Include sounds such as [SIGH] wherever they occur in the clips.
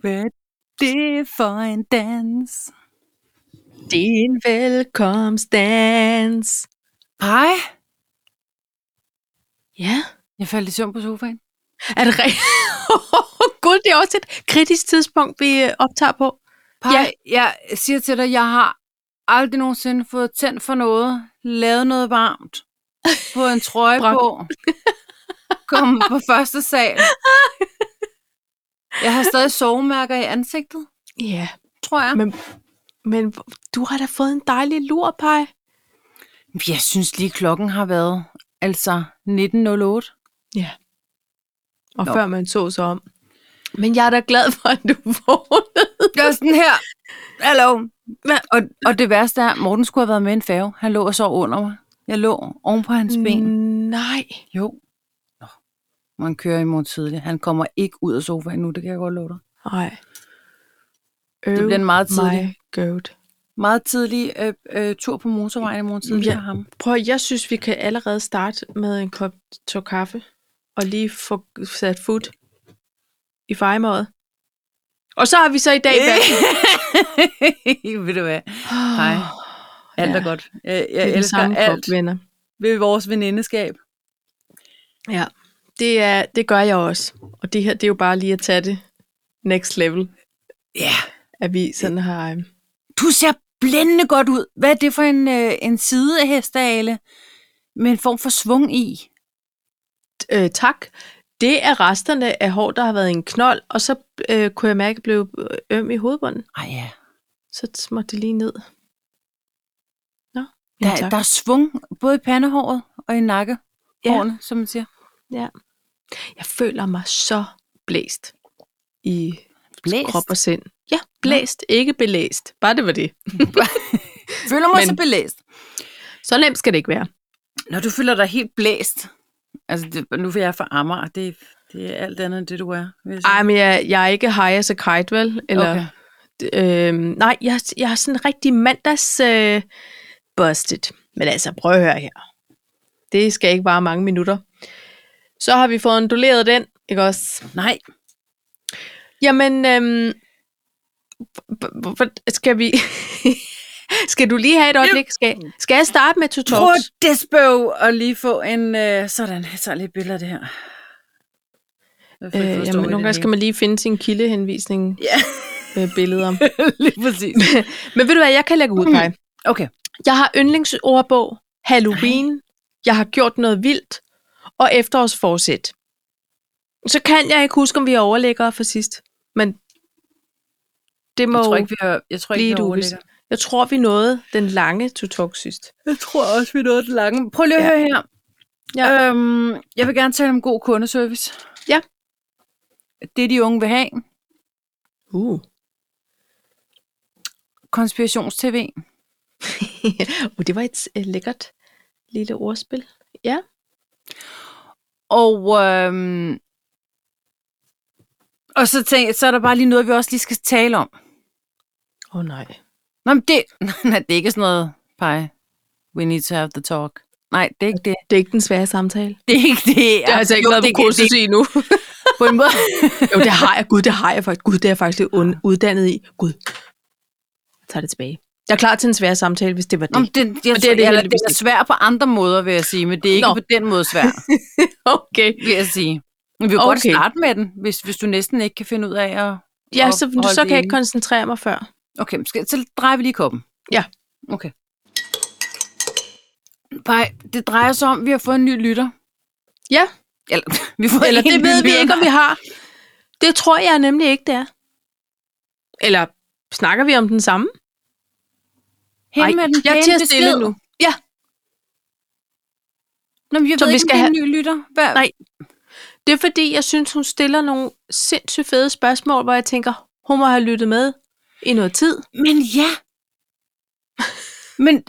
Hvad det er for en dans? Din velkomstdans. Hej. Ja. Jeg faldt i søvn på sofaen. Er det rigtigt? [LAUGHS] Gud, det er også et kritisk tidspunkt, vi øh, optager på. Pej, Ja. ja. jeg siger til dig, jeg har aldrig nogensinde fået tændt for noget, lavet noget [LAUGHS] varmt, fået en trøje Brok. på, kommet på første sal. Jeg har stadig sovemærker i ansigtet, Ja, tror jeg. men, men du har da fået en dejlig lurpej. Jeg synes lige, klokken har været altså 19.08. Ja. Og Nå. Nå. før man så sig om. Men jeg er da glad for, at du vågnede. Jeg er sådan her. Hallo. Hva- Og, og det værste er, Morten skulle have været med i en færge. Han lå og sov under mig. Jeg lå oven på Mm. hans ben. Nej. Jo. Nå. Man kører i morgen tidlig. Han kommer ikke ud af sofaen nu, det kan jeg godt love dig. Nej. Det bliver en meget tidlig, My God. meget tidlig øh, øh, tur på motorvejen i morgen tidlig Ja. ja. for ham. Prøv, at- jeg synes, vi kan allerede starte med en kop tår kaffe, og lige få sat fod i fejmåret. Og så har vi så i dag valgt... [LAUGHS] Ved du hvad? Hej. Alt Ja, er godt. Jeg, det er jeg den elsker samme alt kop, venner. ved vores venindeskab. Ja, det, er, det gør jeg også. Og det her, det er jo bare lige at tage det next level, Ja. at vi sådan har... øhm, Du ser blændende godt ud. Hvad er det for en, øh, en side af hestale med en form for svung i? Øh, tak. Det er resterne af hår, der har været i en knold, og så øh, kunne jeg mærke, at jeg blev øh, øm i hovedbunden. Ej ja. Så småtte det lige ned. Nå, ja, Der, tak. der er svung både i pandehåret og i nakkehårene, ja. som man siger. Jeg føler mig så blæst i Blæst. krop og sind. Ja, blæst, ikke belæst. Bare det var det. Føler mig Men- Men... så belæst. Så nemt skal det ikke være. Når du føler dig helt blæst. Altså, det, nu er jeg fra Amager. Det, det er alt andet end det, du er. vil jeg sige. Ej, men jeg, jeg er ikke high as a kite, vel? Eller, Okay. øhm, nej, jeg, jeg er sådan rigtig mandags øh, busted. Men altså, prøv at høre her. Det skal ikke bare mange minutter. Så har vi fået onduleret den, ikke også? Nej. Jamen, øhm, h- h- h- skal vi... [LAUGHS] skal du lige have et øjeblik? Skal, skal jeg starte med to Prøv talks? at despøv og lige få en... Øh, sådan, jeg tager lidt billeder af det her. Jeg får Øh, ikke forstået jamen, det nogle gange skal hele. man lige finde sin kildehenvisning Ja, øh, billeder. [LAUGHS] lige præcis. Men ved du hvad, jeg kan lægge Mm. ud, Paj. Okay. Jeg har yndlingsordbog, Halloween, jeg har gjort noget vildt, og efterårsforsæt. Så kan jeg ikke huske, om vi er overlæggere for sidst. Men det må Jeg tror ikke, vi vi har, jeg tror blive ikke, et vi uvis. overligger. Jeg tror, vi nåede den lange to sidst. Jeg tror også, vi nåede det lange. Prøv lige at Ja. ja. høre her. Ja. Ja. Øhm, jeg vil gerne tale om god kundeservice. Ja. Det, de unge vil have. [LAUGHS] Uh. Konspirationstv. uh det var et øh, lækkert lille ordspil. Ja. Og, øhm, og så, tænk, så er der bare lige noget, vi også lige skal tale om. Åh oh, nej. Nå, men det, [LAUGHS] nej, det er ikke sådan noget, Paj. We need to have the talk. Nej, det er ikke det. Det er ikke den svære samtale. Det er ikke det. Jeg har altså ikke Jo, været det på er det- kursus i nu. På en måde. Jo, det har jeg. Gud, det har jeg faktisk. Gud, det er jeg faktisk lidt un- uddannet i. Gud. Jeg tager det tilbage. Jeg er klar til en svær samtale, hvis det var Nå, men det. det, jeg, det det, er er det det, jeg, heldigvis det er svært på andre måder, vil jeg sige, men det er ikke Nå. Nå. på den måde svært. [LAUGHS] Okay. vil jeg sige. Men vi kan okay. godt Okay. starte med den, hvis, hvis du næsten ikke kan finde ud af at... Ja, at så, holde så det kan jeg ikke inde. koncentrere mig før. Okay, skal, så drejer vi lige koppen. Ja. Okay. Nej, det drejer sig om, at vi har fået en ny lytter. Ja. Eller, [LAUGHS] vi får Eller en det ny ved vi lytter. ikke, om vi har. Det tror jeg nemlig ikke, det er. Eller snakker vi om den samme? Hen med den jeg pæne tager besked. stille nu. Ja, Nå, men jeg Så ved vi ikke, skal om det er have- en ny lytter. Hvad? Nej. det er fordi, jeg synes, hun stiller nogle sindssygt fede spørgsmål, hvor jeg tænker, hun må have lyttet med i noget tid. Men ja. Men, [LAUGHS]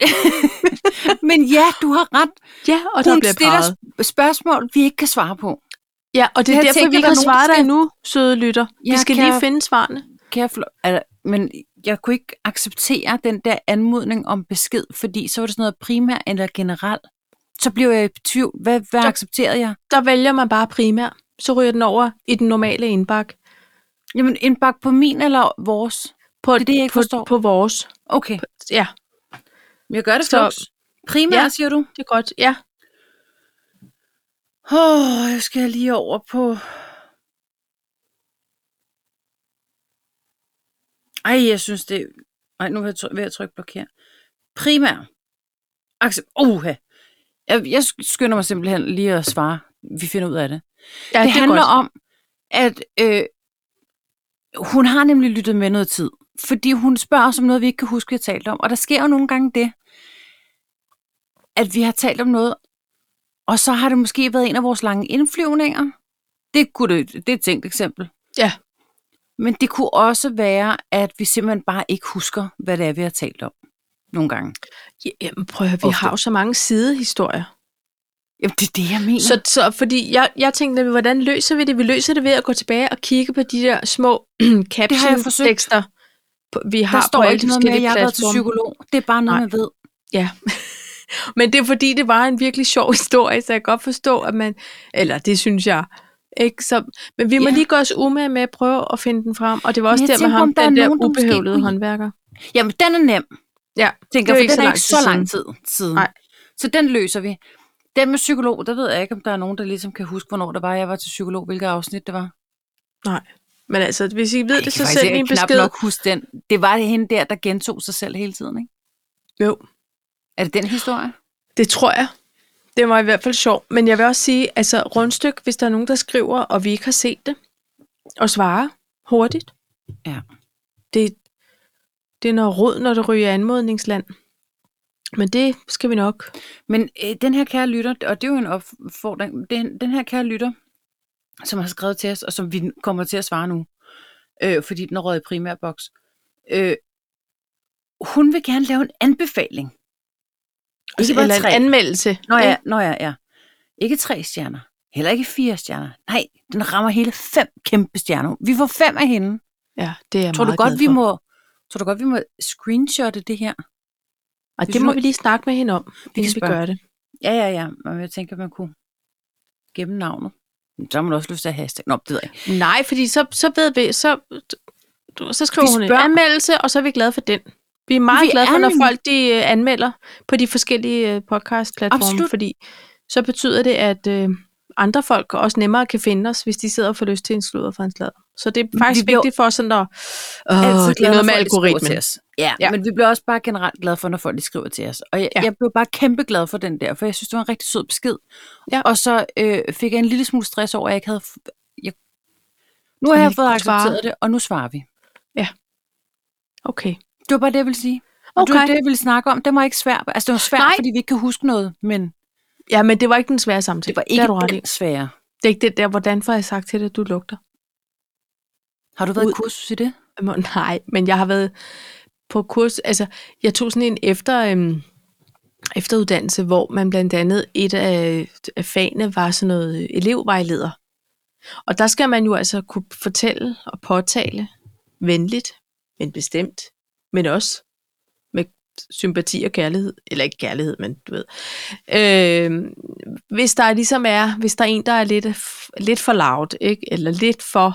men ja, du har ret. Ja, og der Hun bliver stiller peget. sp- spørgsmål, vi ikke kan svare på. Ja, og det er Jeg derfor, tænker, vi ikke der er har nogen, der svaret dig skal- endnu, søde lytter. Vi Jeg skal kan- lige finde svarene. Kan jeg fl- altså, men jeg kunne ikke acceptere den der anmodning om besked, fordi så var det sådan noget primær eller generelt. Så blev jeg i tvivl. Hvad, hvad Så- accepterede jeg? Der vælger man bare primær. Så ryger den over i den normale indbakke. Jamen, en bak på min eller vores? På, Det er det, jeg ikke på, forstår. På vores. Okay, Ja, jeg gør det Så- flux. Primært, Ja. ja. siger du? det er godt. Ja. Åh, oh, jeg skal lige over på... Ej, jeg synes det... Ej, nu er jeg try- ved at trykke blokér. Primær. Accept. Oha. Jeg, jeg skynder mig simpelthen lige at svare. Vi finder ud af det. Ja, Ja, det, det handler godt. om, at øh, hun har nemlig lyttet med noget tid. Fordi hun spørger os om noget, vi ikke kan huske, vi har talt om. Og der sker jo nogle gange det, at vi har talt om noget, og så har det måske været en af vores lange indflyvninger. Det, kunne det, det er et tænkt eksempel. Ja. Men det kunne også være, at vi simpelthen bare ikke husker, hvad det er, vi har talt om nogle gange. Ja, Jamen, prøv at høre, vi Ofte. har jo så mange sidehistorier. Jamen, det er det, jeg mener. Så, så fordi jeg, jeg tænkte, nemlig, hvordan løser vi det? Vi løser det ved at gå tilbage og kigge på de der små [CLEARS THROAT] caption-tekster, på- vi der har står på alle ikke de noget med, at forskellige jeg har været til platforme. psykolog. Det er bare noget, Nej. man ved. Ja. Men det er fordi, det var en virkelig sjov [LAUGHS] historie, så jeg kan godt forstå, at man... Eller det synes jeg. Ikke? Så, men vi må Ja. lige gøre os umage med at prøve at finde den frem. Og det var Men også jeg der med tænker, ham, om der den er der nogen, der måske ubehøvlede kunne- håndværker. Jamen, den er nem. Ja, tænker, for Det er jo ikke den så er lang ikke tid så lang tid siden. Nej. Så den løser vi. Den med psykolog, der ved jeg ikke, om der er nogen, der ligesom kan huske, hvornår det var, jeg var til psykolog, hvilket afsnit det var. Nej. Men altså, hvis I ved Ej, det, så kan send ikke en knap besked. nok huske den. Det var det hende der, der gentog sig selv hele tiden, ikke? Jo. Er det den historie? Det tror jeg. Det var i hvert fald sjovt. Men jeg vil også sige, altså rundstyk, hvis der er nogen, der skriver, og vi ikke har set det, og svarer hurtigt. Ja. Det, det er noget råd, når det ryger i anmodningsland. Men det skal vi nok. Men øh, den her kære lytter, og det er jo en opfordring, den, den her kære lytter, som har skrevet til os, og som vi kommer til at svare nu, øh, fordi den er røget i primærboks, øh, hun vil gerne lave en anbefaling. Ikke bare Eller tre. en anmeldelse. Nå ja, ikke? nå ja, ja. Ikke tre stjerner. Heller ikke fire stjerner. Nej, den rammer hele fem kæmpe stjerner. Vi får fem af hende. ja det er jeg tror du meget godt, glad vi for. må... Tror du godt, vi må screenshotte det her? Og hvis det vi må nu- vi lige snakke med hende om, vi kan vi spørge. gør det. Ja, ja, ja. Men jeg tænker, man kunne gemme navnet. Men så har man også lyst til at hashtag. Nå, det ved jeg ikke. Nej, fordi så, så ved vi, så, du- så skriver Vi hun en spørger. anmeldelse, og så er vi glade for den. Vi er meget Vi glade for, er når nemlig- folk de øh, anmelder på de forskellige øh, podcastplatforme, Absolut. fordi så betyder det, at øh, andre folk også nemmere kan finde os, hvis de sidder og får lyst til en sludder for en sladder. Så det er faktisk vi bliver vigtigt for os sådan at... Åh, Altid det er glad, når noget med folk skriver Til algoritmen. os. Ja, Ja. ja, men vi bliver også bare generelt glade for, når folk de skriver til os. Og jeg, Ja. ja. jeg blev bare kæmpe glad for den der, for jeg synes, det var en rigtig sød besked. Ja. Og så øh, fik jeg en lille smule stress over, at jeg ikke havde... f- Jeg... Nu har man jeg ikke kunne fået accepteret svare. det, og nu svarer vi. Okay. Det var bare det, jeg ville sige. Og okay. det, Okay. var det, jeg ville snakke om, det var ikke svært. Altså, det var svært, Nej. Nej. fordi vi ikke kan huske noget, men Ja, men det var ikke den svære samtale. det var det ikke har du ret i. det svære. Det er ikke det der, hvordan får jeg sagt til dig, at du lugter? Har du været Ud. i kursus i det? Må- Nej, men jeg har været på kurs, altså jeg tog sådan en efter, øhm, efteruddannelse, hvor man blandt andet, et af, af fagene var sådan noget øh, elevvejleder. Og der skal man jo altså kunne fortælle og påtale venligt, men bestemt, men også med sympati og kærlighed, eller ikke kærlighed, men du ved. Øh, hvis der ligesom er, hvis der er en, der er lidt, lidt for loud, ikke? eller lidt for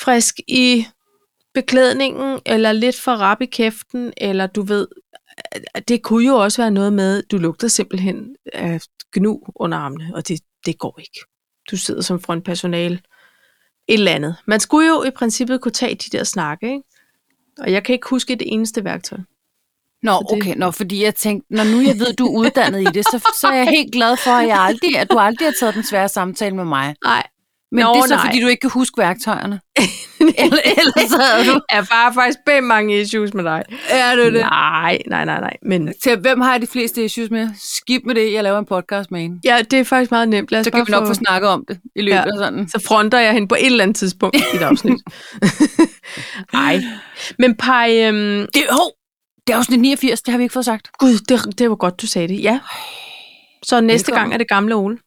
frisk i beklædningen, eller lidt for rap i kæften, eller du ved, at det kunne jo også være noget med, du lugter simpelthen af gnu under armene, og det, det går ikke. Du sidder som frontpersonale. Et eller andet. Man skulle jo i princippet kunne tage de der snakke, ikke? Og jeg kan ikke huske et eneste værktøj. Nå, det- okay, nå, fordi jeg tænkte, når nu jeg ved, du er uddannet i det, så, så [LAUGHS] er jeg helt glad for, at, jeg aldrig, at du aldrig har taget den svære samtale med mig. Nej, Men Nå, det er så, nej. fordi du ikke kan huske værktøjerne. [LAUGHS] eller, ellers havde [LAUGHS] du... jeg har faktisk bag mange issues med dig. Er du det? Nej, nej, nej, nej. Men Til hvem har jeg de fleste issues med? Skib med det, jeg laver en podcast med hende. ja, det er faktisk meget nemt. Lad os Så kan bare vi nok få- få snakket om det i løbet Ja. ja. af sådan. så fronter jeg hende på et eller andet tidspunkt i et [LAUGHS] afsnit. Nej. Men Paj, øhm, Det, oh, det er afsnit 89, det har vi ikke fået sagt. gud, det, det var godt, du sagde det. Ja. Så næste Velkommen. gang er det gamle Ole.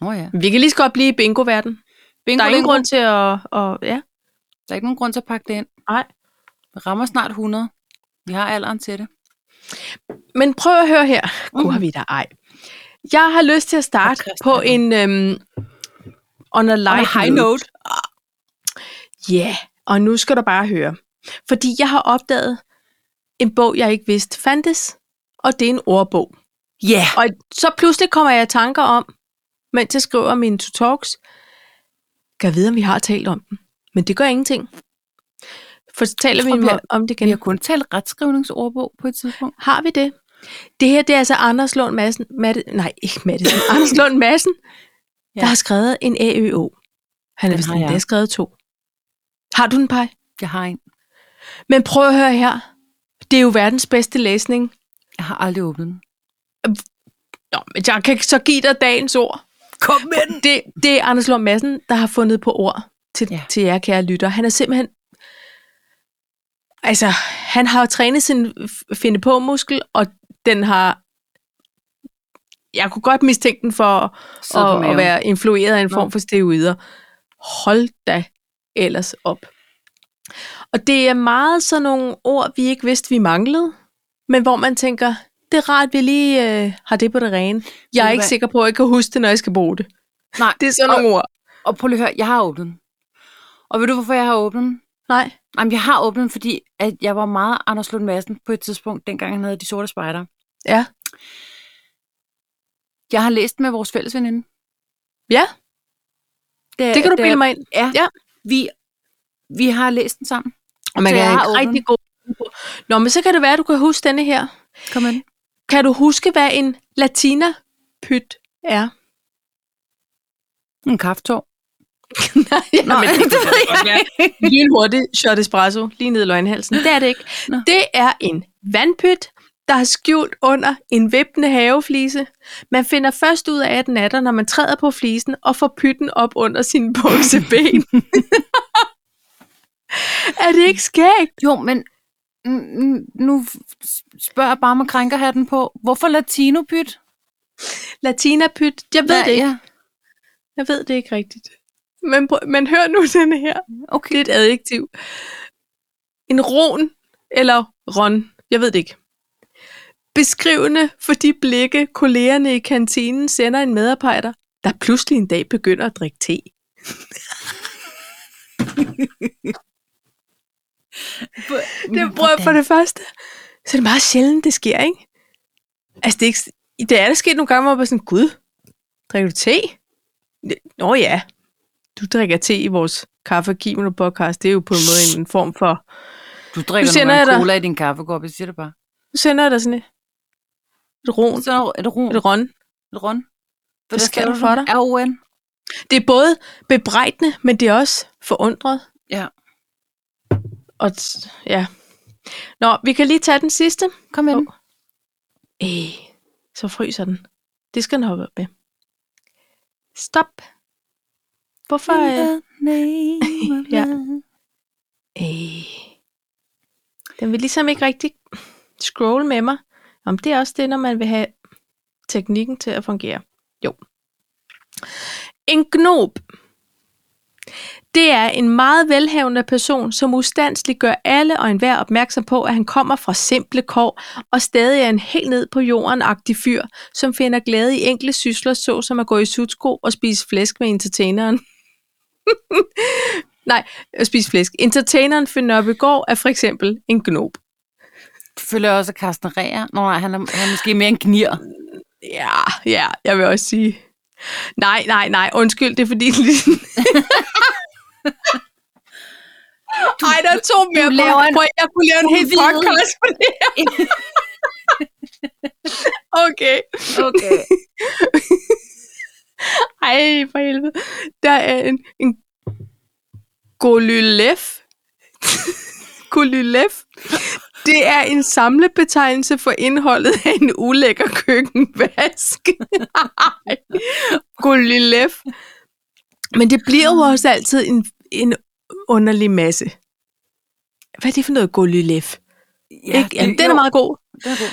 Nå oh, ja. Vi kan lige så godt blive i bingo-verden. Bingo, Der er ingen lingo. grund til at... Og, ja, der er ikke nogen grund til at pakke det ind. nej. Vi rammer snart 100. Vi har alderen til det. Men prøv at høre her. Gud, Mm. har vi da ej. Jeg har lyst til at starte Podcast, på ja. en... Øhm, on a light high note. Ja, yeah. og nu skal du bare høre. Fordi jeg har opdaget en bog, jeg ikke vidste fandtes, og det er en ordbog. Ja, Og så pludselig kommer jeg i tanker om, mens jeg skriver mine to talks, kan jeg vide, om vi har talt om den. Men det gør ingenting. For så taler Jeg vi tror, vi om- har- om det vi igen. har kun talt retskrivningsordbog på et tidspunkt. Har vi det? Det her, det er altså Anders Lund Madsen, Matte, nej, ikke Madsen, [LAUGHS] Anders Lund Madsen, ja. Ja. der har skrevet en AØO. Han har Den vist har endda jeg. skrevet to. Har du den, Paj? Jeg har en. Men prøv at høre her. Det er jo verdens bedste læsning. Jeg har aldrig åbnet den. Nå, men jeg kan så give dig dagens ord. Kom med den! Det, det er Anders Lund Madsen, der har fundet på ord til, ja. Ja. til jer, kære lytter. Han er simpelthen... Altså, han har jo trænet sin f- finde på muskel, og den har... Jeg kunne godt mistænke den for Sidder på at, at maven. være influeret af en Nå. form for steroider. Hold da ellers op. Og det er meget sådan nogle ord, vi ikke vidste, vi manglede, men hvor man tænker, det er rart, vi lige øh, har det på det rene. Jeg er du ikke hvad? sikker på, at jeg kan huske det, når jeg skal bruge det. Nej, Det er sådan nogle ord. og prøv lige at høre, jeg har åbnet den. Og ved du, hvorfor jeg har åbnet den? Nej. Jamen, jeg har åbnet den, fordi at jeg var meget Anders Lund Madsen på et tidspunkt, dengang han havde De Sorte Spejder. Ja. Jeg har læst den med vores fælles veninde. Ja, Da, det kan du da- bilde mig ind. Ja, Ja. ja. Vi, vi har læst den sammen. Og man Så kan jeg have har en åbnet. rigtig god... Nå, men så kan det være, at du kan huske denne her. Kom ind. Kan du huske, hvad en latina-pyt [LAUGHS] er? En kaffetår. Nej, Nå, [LAUGHS] men det ved jeg ikke. [LAUGHS] Lige hurtigt, shot espresso, lige ned i løgnhalsen. [LAUGHS] Det er det ikke. Nå. Det er en vandpyt, der er skjult under en vippende haveflise. Man finder først ud af, at den er der, når man træder på flisen og får pytten op under sine [LAUGHS] bukseben. er det ikke skægt? Jo, men n- n- nu f- spørger jeg bare med krænkerhatten på, hvorfor latinopyt? Latinapyt, jeg ved Hvad- det ikke. Ja. Jeg ved det ikke rigtigt. Men, prøv- men hør nu denne her. Okay. Det er et adjektiv. En ron eller ron, jeg ved det ikke. Beskrivende for de blikke, kollegerne i kantinen sender en medarbejder, der pludselig en dag begynder at drikke te. Det prøver for det første. Så det er meget sjældent, det sker, ikke? Altså, det er, ikke, det er der sket nogle gange, hvor jeg var sådan, gud, drikker du te? Nå ja, du drikker te i vores kaffe og kimono podcast. Det er jo på en måde en form for Du drikker Nu sender nu jeg dig- en cola i din kaffekop, jeg siger det bare. Nu sender jeg dig sådan et, et ron. Så er det ron. Et ron. Et ron. Hvad sker der for dig? R-O-N. Det er både bebrejdende, men det er også forundret. Ja. Og t- ja. Nå, vi kan lige tage den sidste. Kom ind. Øh, så fryser den. Det skal den hoppe op med. Stop. Hvorfor? Øh, Ja. ja. øh, den vil ligesom ikke rigtig scroll med mig. Om det er også det, når man vil have teknikken til at fungere. Jo. En gnob. Det er en meget velhavende person, som ustandsligt gør alle og enhver opmærksom på, at han kommer fra simple kår og stadig er en helt ned på jorden-agtig fyr, som finder glæde i enkle sysler, såsom at gå i sutsko og spise flæsk med entertaineren. Nej, at spise flæsk. Entertaineren Finn Nørbegaard er for eksempel en gnob. Du følger også at Carsten Rea. Nå nej, han er, han er måske mere en gnir. Ja, ja, jeg vil også sige... Nej, nej, nej, undskyld, det er fordi... Ej, der er to mere. Prøv- laver en prøv, jeg kunne lave en helt udvidet- podcast på det [LAUGHS] her. okay. [LAUGHS] Okay. Ej, for helvede. Der er en, en golylev. [LAUGHS] golylev. Det er en samlebetegnelse for indholdet af en ulækker køkkenvask. [LAUGHS] Ej, golylev. Men det bliver jo også altid en, en underlig masse. Hvad er det for noget golylev? Ja, Ikke? Jamen, den er meget god. Det er god.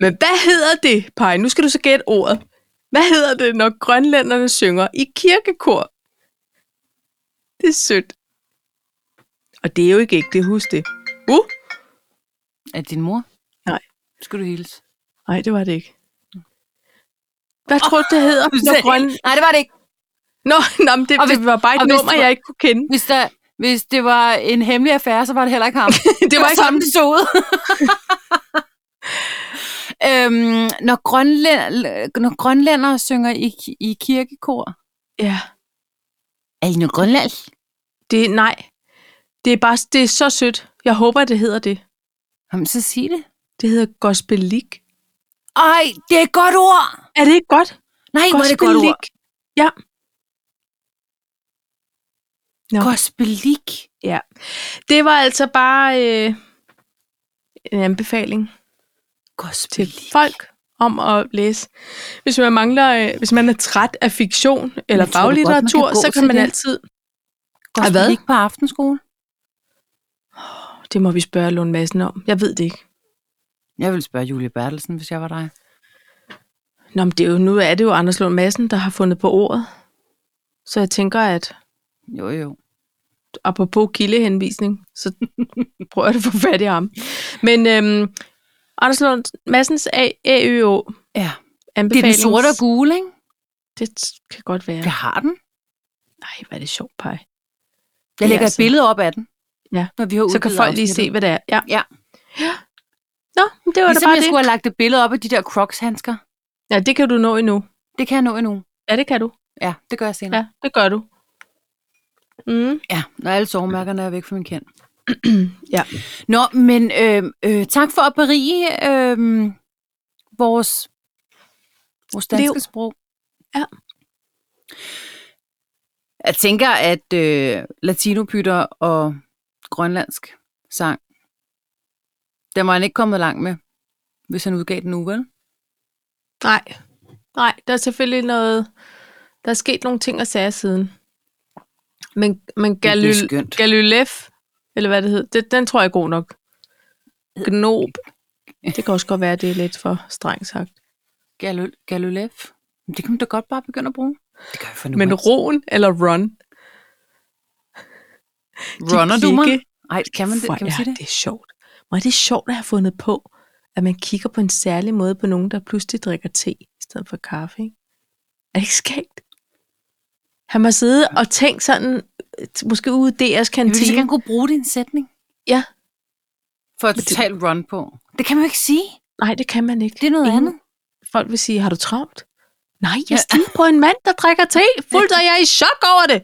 Men hvad hedder det, Paj? Nu skal du så gætte ordet. Hvad hedder det, når grønlænderne synger i kirkekor? Det er sødt. Og det er jo ikke ægte, husk det. Uh, Er det din mor? Nej. Skal du hilse? nej, det var det ikke. Hvad tror du, det hedder, når grøn... Nej, det var det ikke. Nå, nå men det, Og hvis- det var bare og et hvis nummer, det var- jeg ikke kunne kende. Hvis der, Hvis det var en hemmelig affære, så var [LAUGHS] det heller ikke [LAUGHS] ham. det var ikke ham. det så [LAUGHS] ud. øhm, når, grønlænder, når grønlændere synger i, i kirkekor, Ja. er I noget grønlandsk? Det, nej. Det er, bare, det er så sødt. Jeg håber, det hedder det. Jamen, så sig det. Det hedder Gospel League. Ej, det er et godt ord. Er det ikke godt? Nej, hvor er det et godt ord. Gospelik. Ja. Nå. Gospelik. Det var altså bare øh, en anbefaling til Gospelik. folk om at læse. Hvis man mangler, øh, hvis man er træt af fiktion tror du godt, eller man kan faglitteratur, gå så til kan man det? altid... Ej, hvad? Gospelik på aftenskole. Det må vi spørge Lund Madsen om. Jeg ved det ikke. Jeg ville spørge Julie Bertelsen, hvis jeg var dig. Nå, men det er jo, nu er det jo Anders Lund Madsen, der har fundet på ordet. Så jeg tænker, at Jo, jo. apropos kildehenvisning, så [LAUGHS] prøver jeg at få fat i ham. Men øhm, Anders Lund Madsens AØO Ja. Det er anbefaling. den sorte og gule, ikke? Det kan godt være. Ja. Jeg har den. Nej, hvor er det sjovt, Paj. Jeg Ja, lægger et altså. billede op af den. Ja. Når vi har Så kan udgivet folk lige se, afsnittet. hvad det er. Ja. Ja. ja. Nå, men det var Ligesom da bare jeg det. skulle have lagt et billede op af de der Crocs-handsker. Ja, det kan du nå endnu. Det kan jeg nå endnu. Ja, det kan du. Ja, det gør jeg senere. Ja, det gør du. Mm. Ja, når alle sovemærkerne er væk fra min [CLEARS THROAT] kend. Ja. Nå, men øh, øh, tak for at berige øh, vores, vores danske Liv. Liv. sprog. Ja. Jeg tænker, at øh, latinopytter og grønlandsk sang, den var han ikke kommet langt med, hvis han udgav den nu, vel? Nej. Nej, der er selvfølgelig noget... Der er sket nogle ting og sager siden. Men, men det er Galyl, skønt. Galylef, eller hvad det hed, det, den tror jeg er god nok. Gnob. Det kan også godt være, at det er lidt for strengt sagt. Gal- Galulev. Men Det kan man da godt bare begynde at bruge. Det gør jeg for nu. Men af. Ron eller Ron? runner du mig? kigge- Nej, kan man det? Hvor Kan man er sige det? det sjovt. Hvor er det sjovt at have fundet på, at man kigger på en særlig måde på nogen, der pludselig drikker te i stedet for kaffe. Ikke? Er det ikke skægt? Han må sidde og tænke sådan, øh, måske ude i DR's Jeg vil så kantine. gerne kunne bruge din sætning. Ja. For et Men det- totalt run på. Det kan man jo ikke sige. Nej, det kan man ikke. Det er noget Ingen- andet. Folk vil sige, har du travlt? Nej, jeg Ja. stil på en mand, der drikker te. Fuldt er jeg i chok over [LAUGHS] det.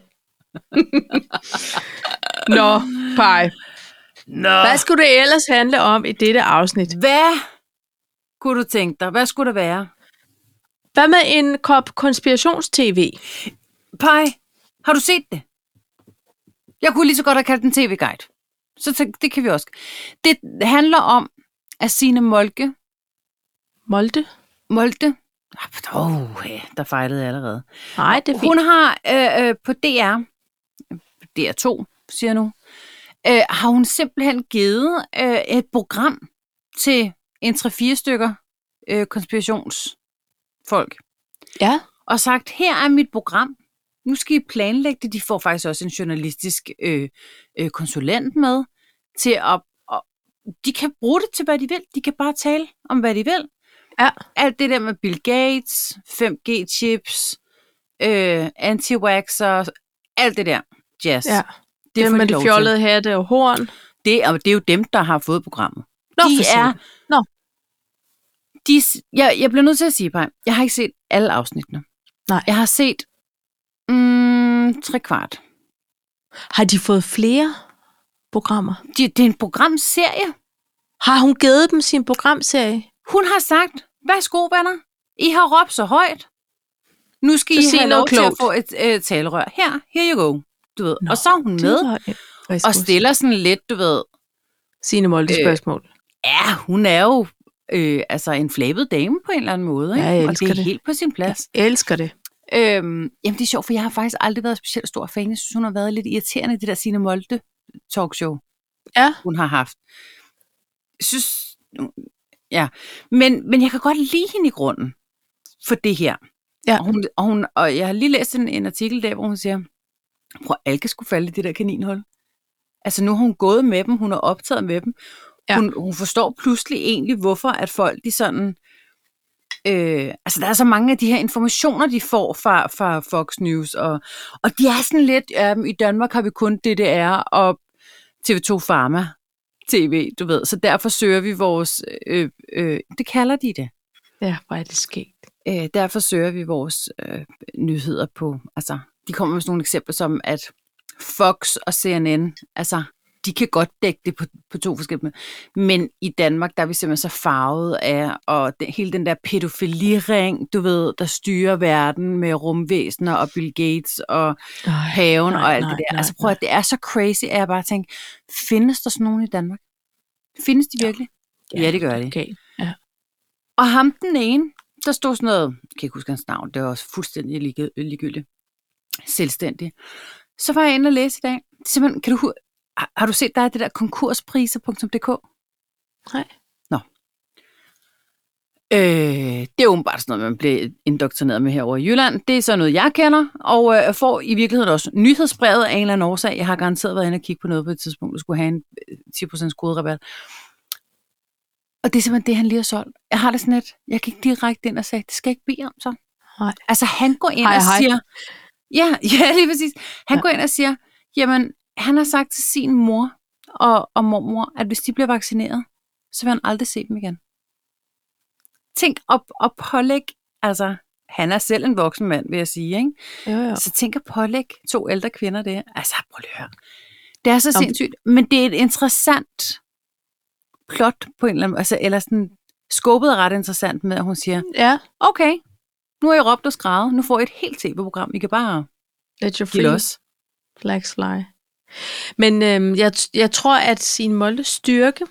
Nå, pej. Nå. Hvad skulle det ellers handle om i dette afsnit? Hvad kunne du tænke dig? Hvad skulle der være? Hvad med en kop konspirationstv? Pej, har du set det? Jeg kunne lige så godt have kaldt den tv-guide. Så tænk, det kan vi også. Det handler om, at Signe Molke, Molde? Molte, oh, der fejlede jeg allerede. Nej, det er fint. Hun har øh, øh, på DR, DR2 siger jeg nu, øh, har hun simpelthen givet øh, et program til en 3-4 stykker øh, konspirationsfolk. Ja. Og sagt, her er mit program. Nu skal I planlægge det. De får faktisk også en journalistisk øh, øh, konsulent med til at... Og de kan bruge det til, hvad de vil. De kan bare tale om, hvad de vil. Ja. Alt det der med Bill Gates, 5G-chips, øh, anti-waxer, alt det der jazz. Ja. Det, Det er er får med de de lov til. fjollede hatte og horn. Det, og det er jo dem, der har fået programmet. Nå, de for er... satan. Nå. De, s- jeg, jeg bliver nødt til at sige, Paj, jeg har ikke set alle afsnittene. Nej. Jeg har set mm, tre kvart. Har de fået flere programmer? De, det er en programserie. Har hun givet dem sin programserie? Hun har sagt, værsgo venner, I har råbt så højt. Nu skal Så I sig have lov noget til at klogt." få et øh, talerør. Her, here you go. Du ved. og så er hun med og stille. stiller sådan lidt, du ved, Signe Molde Øh, spørgsmål. Ja, hun er jo øh, altså en flabet dame på en eller anden måde. Ikke? Ja, jeg og elsker det er det. helt på sin Jeg plads. elsker det. Ja. Øhm, jamen, det er sjovt, for jeg har faktisk aldrig været specielt stor fan. Jeg synes, hun har været lidt irriterende i det der Signe Molde talkshow, Ja. hun har haft. Jeg synes... Ja, men, men jeg kan godt lide hende i grunden for det her. Ja. Og, hun, og, hun, og jeg har lige læst en, en artikel der, hvor hun siger, prøv at Alke skulle falde i det der kaninhul. Altså nu har hun gået med dem, hun har optaget med dem. Ja. Ja. Hun, hun forstår pludselig egentlig, hvorfor at folk de sådan Øh, altså, der er så mange af de her informationer, de får fra, fra Fox News, og, og de er sådan lidt, øhm, i Danmark har vi kun DDR og TV2 Pharma TV, du ved, så derfor søger vi vores, øh, øh, det kalder de det, Ja, hvor er det sket. øh, derfor søger vi vores øh, nyheder på, altså, de kommer med sådan nogle eksempler som, at Fox og CNN, altså, de kan godt dække det på, på to forskellige måder. Men i Danmark, der er vi simpelthen så farvet af, og det, hele den der pædofiliring, du ved, der styrer verden med rumvæsener og Bill Gates og Ej, haven nej, og alt nej, det der. nej, altså prøv at det er så crazy, at jeg bare tænker, findes der sådan nogen i Danmark? Findes de virkelig? Ja, det gør de. Okay. Og ham den ene, der stod sådan noget, jeg kan ikke huske hans navn, det var også fuldstændig ligge- ligegyldigt, selvstændig. Så var jeg inde og læse i dag. Simpelthen, kan du, hu- har- har du set dig det der konkurspriser.dk? Nej. Nå. Øh, det er åbenbart sådan noget, man bliver indoktrineret med herovre i Jylland. Det er så noget, jeg kender, og øh, får i virkeligheden også nyhedsbrevet af en eller anden årsag. Jeg har garanteret været inde og kigge på noget på et tidspunkt, der skulle have en øh, 10% koderabat. Og det er simpelthen det, han lige har solgt. Jeg har det sådan lidt, jeg gik direkte ind og sagde, det skal jeg ikke bede om så. Nej. Altså han går ind Hej, hej, og hej. siger, ja, [LAUGHS] ja lige præcis. Han Ja. ja. går ind og siger, jamen han har sagt til sin mor og, og mormor, at hvis de bliver vaccineret, så vil han aldrig se dem igen. Tænk op og pålæg, altså han er selv en voksen mand, vil jeg sige, ikke? Jo, jo. Så tænk at pålægge to ældre kvinder det. Altså, prøv lige at høre. Det er så Nå, men- sindssygt, men det er et interessant plot på en eller anden altså, eller sådan, skubbet er ret interessant med, at hun siger, Ja, okay, nu har I råbt og skrevet, nu får I et helt tv-program, I kan bare let your give free os. flags fly. Men øhm, jeg, t- jeg tror, at sin Molde styrke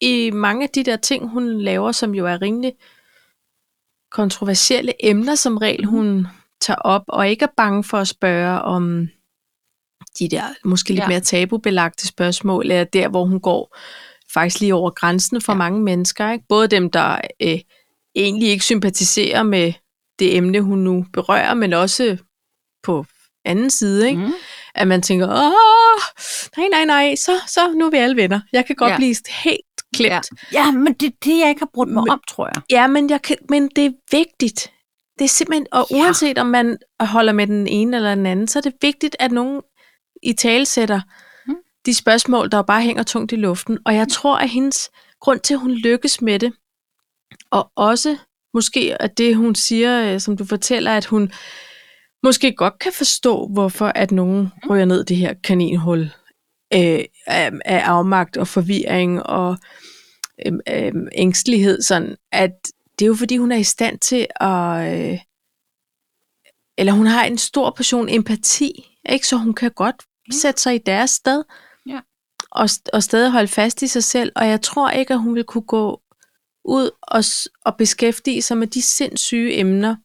i mange af de der ting, hun laver, som jo er rimelig kontroversielle emner som regel, hun tager op, og ikke er bange for at spørge om de der måske lidt ja. Ja. mere tabubelagte spørgsmål, er der, hvor hun går faktisk lige over grænsen for ja. Ja. mange mennesker. Ikke? Både dem, der øh, egentlig ikke sympatiserer med det emne, hun nu berører, men også på anden side, ikke? Mm. at man tænker, åh, nej, nej, nej, så, så nu er vi alle venner. Jeg kan godt ja. Ja. blive helt klemt. Ja. Ja. ja, men det er det, jeg ikke har brudt mig Men- om, tror jeg. ja, men, jeg kan, men det er vigtigt. Det er simpelthen, og Ja. uanset om man holder med den ene eller den anden, så er det vigtigt, at nogen i tale sætter Mm. de spørgsmål, der jo bare hænger tungt i luften. Og jeg tror, at hendes grund til, at hun lykkes med det, og også måske, at det, hun siger, øh, som du fortæller, at hun måske godt kan forstå, hvorfor at nogen Mm. ryger ned i det her kaninhul øh, af, af afmagt og forvirring og øh, øh, ængstelighed, sådan at det er jo fordi, hun er i stand til at... Øh, eller hun har en stor portion empati, ikke? så hun kan godt Ja. sætte sig i deres sted Ja. og, st- og stadig holde fast i sig selv. Og jeg tror ikke, at hun vil kunne gå ud og, s- og beskæftige sig med de sindssyge emner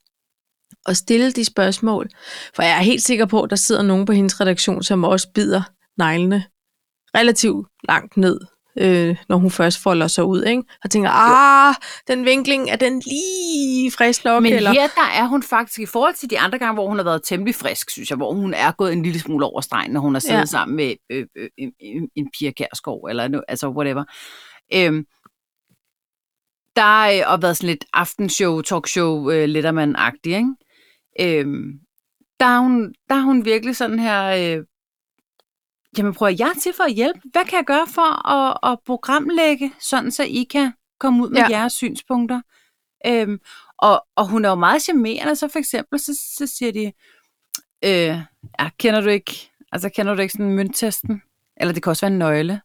og stille de spørgsmål. For jeg er helt sikker på, at der sidder nogen på hendes redaktion, som også bider neglene relativt langt ned, øh, når hun først folder sig ud, ikke? og tænker, ah, den vinkling, er den lige frisk nok? Men eller? her, der er hun faktisk, i forhold til de andre gange, hvor hun har været temmelig frisk, synes jeg, hvor hun er gået en lille smule over stregen, når hun har siddet Ja. ja. sammen med øh, øh, en, en- en Pia Kjærsgaard, eller no, altså whatever. Øhm, der har øh, og været sådan lidt aftenshow, talkshow, øh, letterman-agtig, ikke? Øhm, der, er hun, der er hun virkelig sådan her, øh, jamen prøv at jeg er til for at hjælpe. Hvad kan jeg gøre for at, at programlægge, sådan så I kan komme ud med Ja. ja. jeres synspunkter? Øhm, og, og hun er jo meget charmerende, så for eksempel, så, så siger de, øh, ja, kender du ikke, altså kender du ikke sådan mønttesten? Eller det kan også være en nøgle.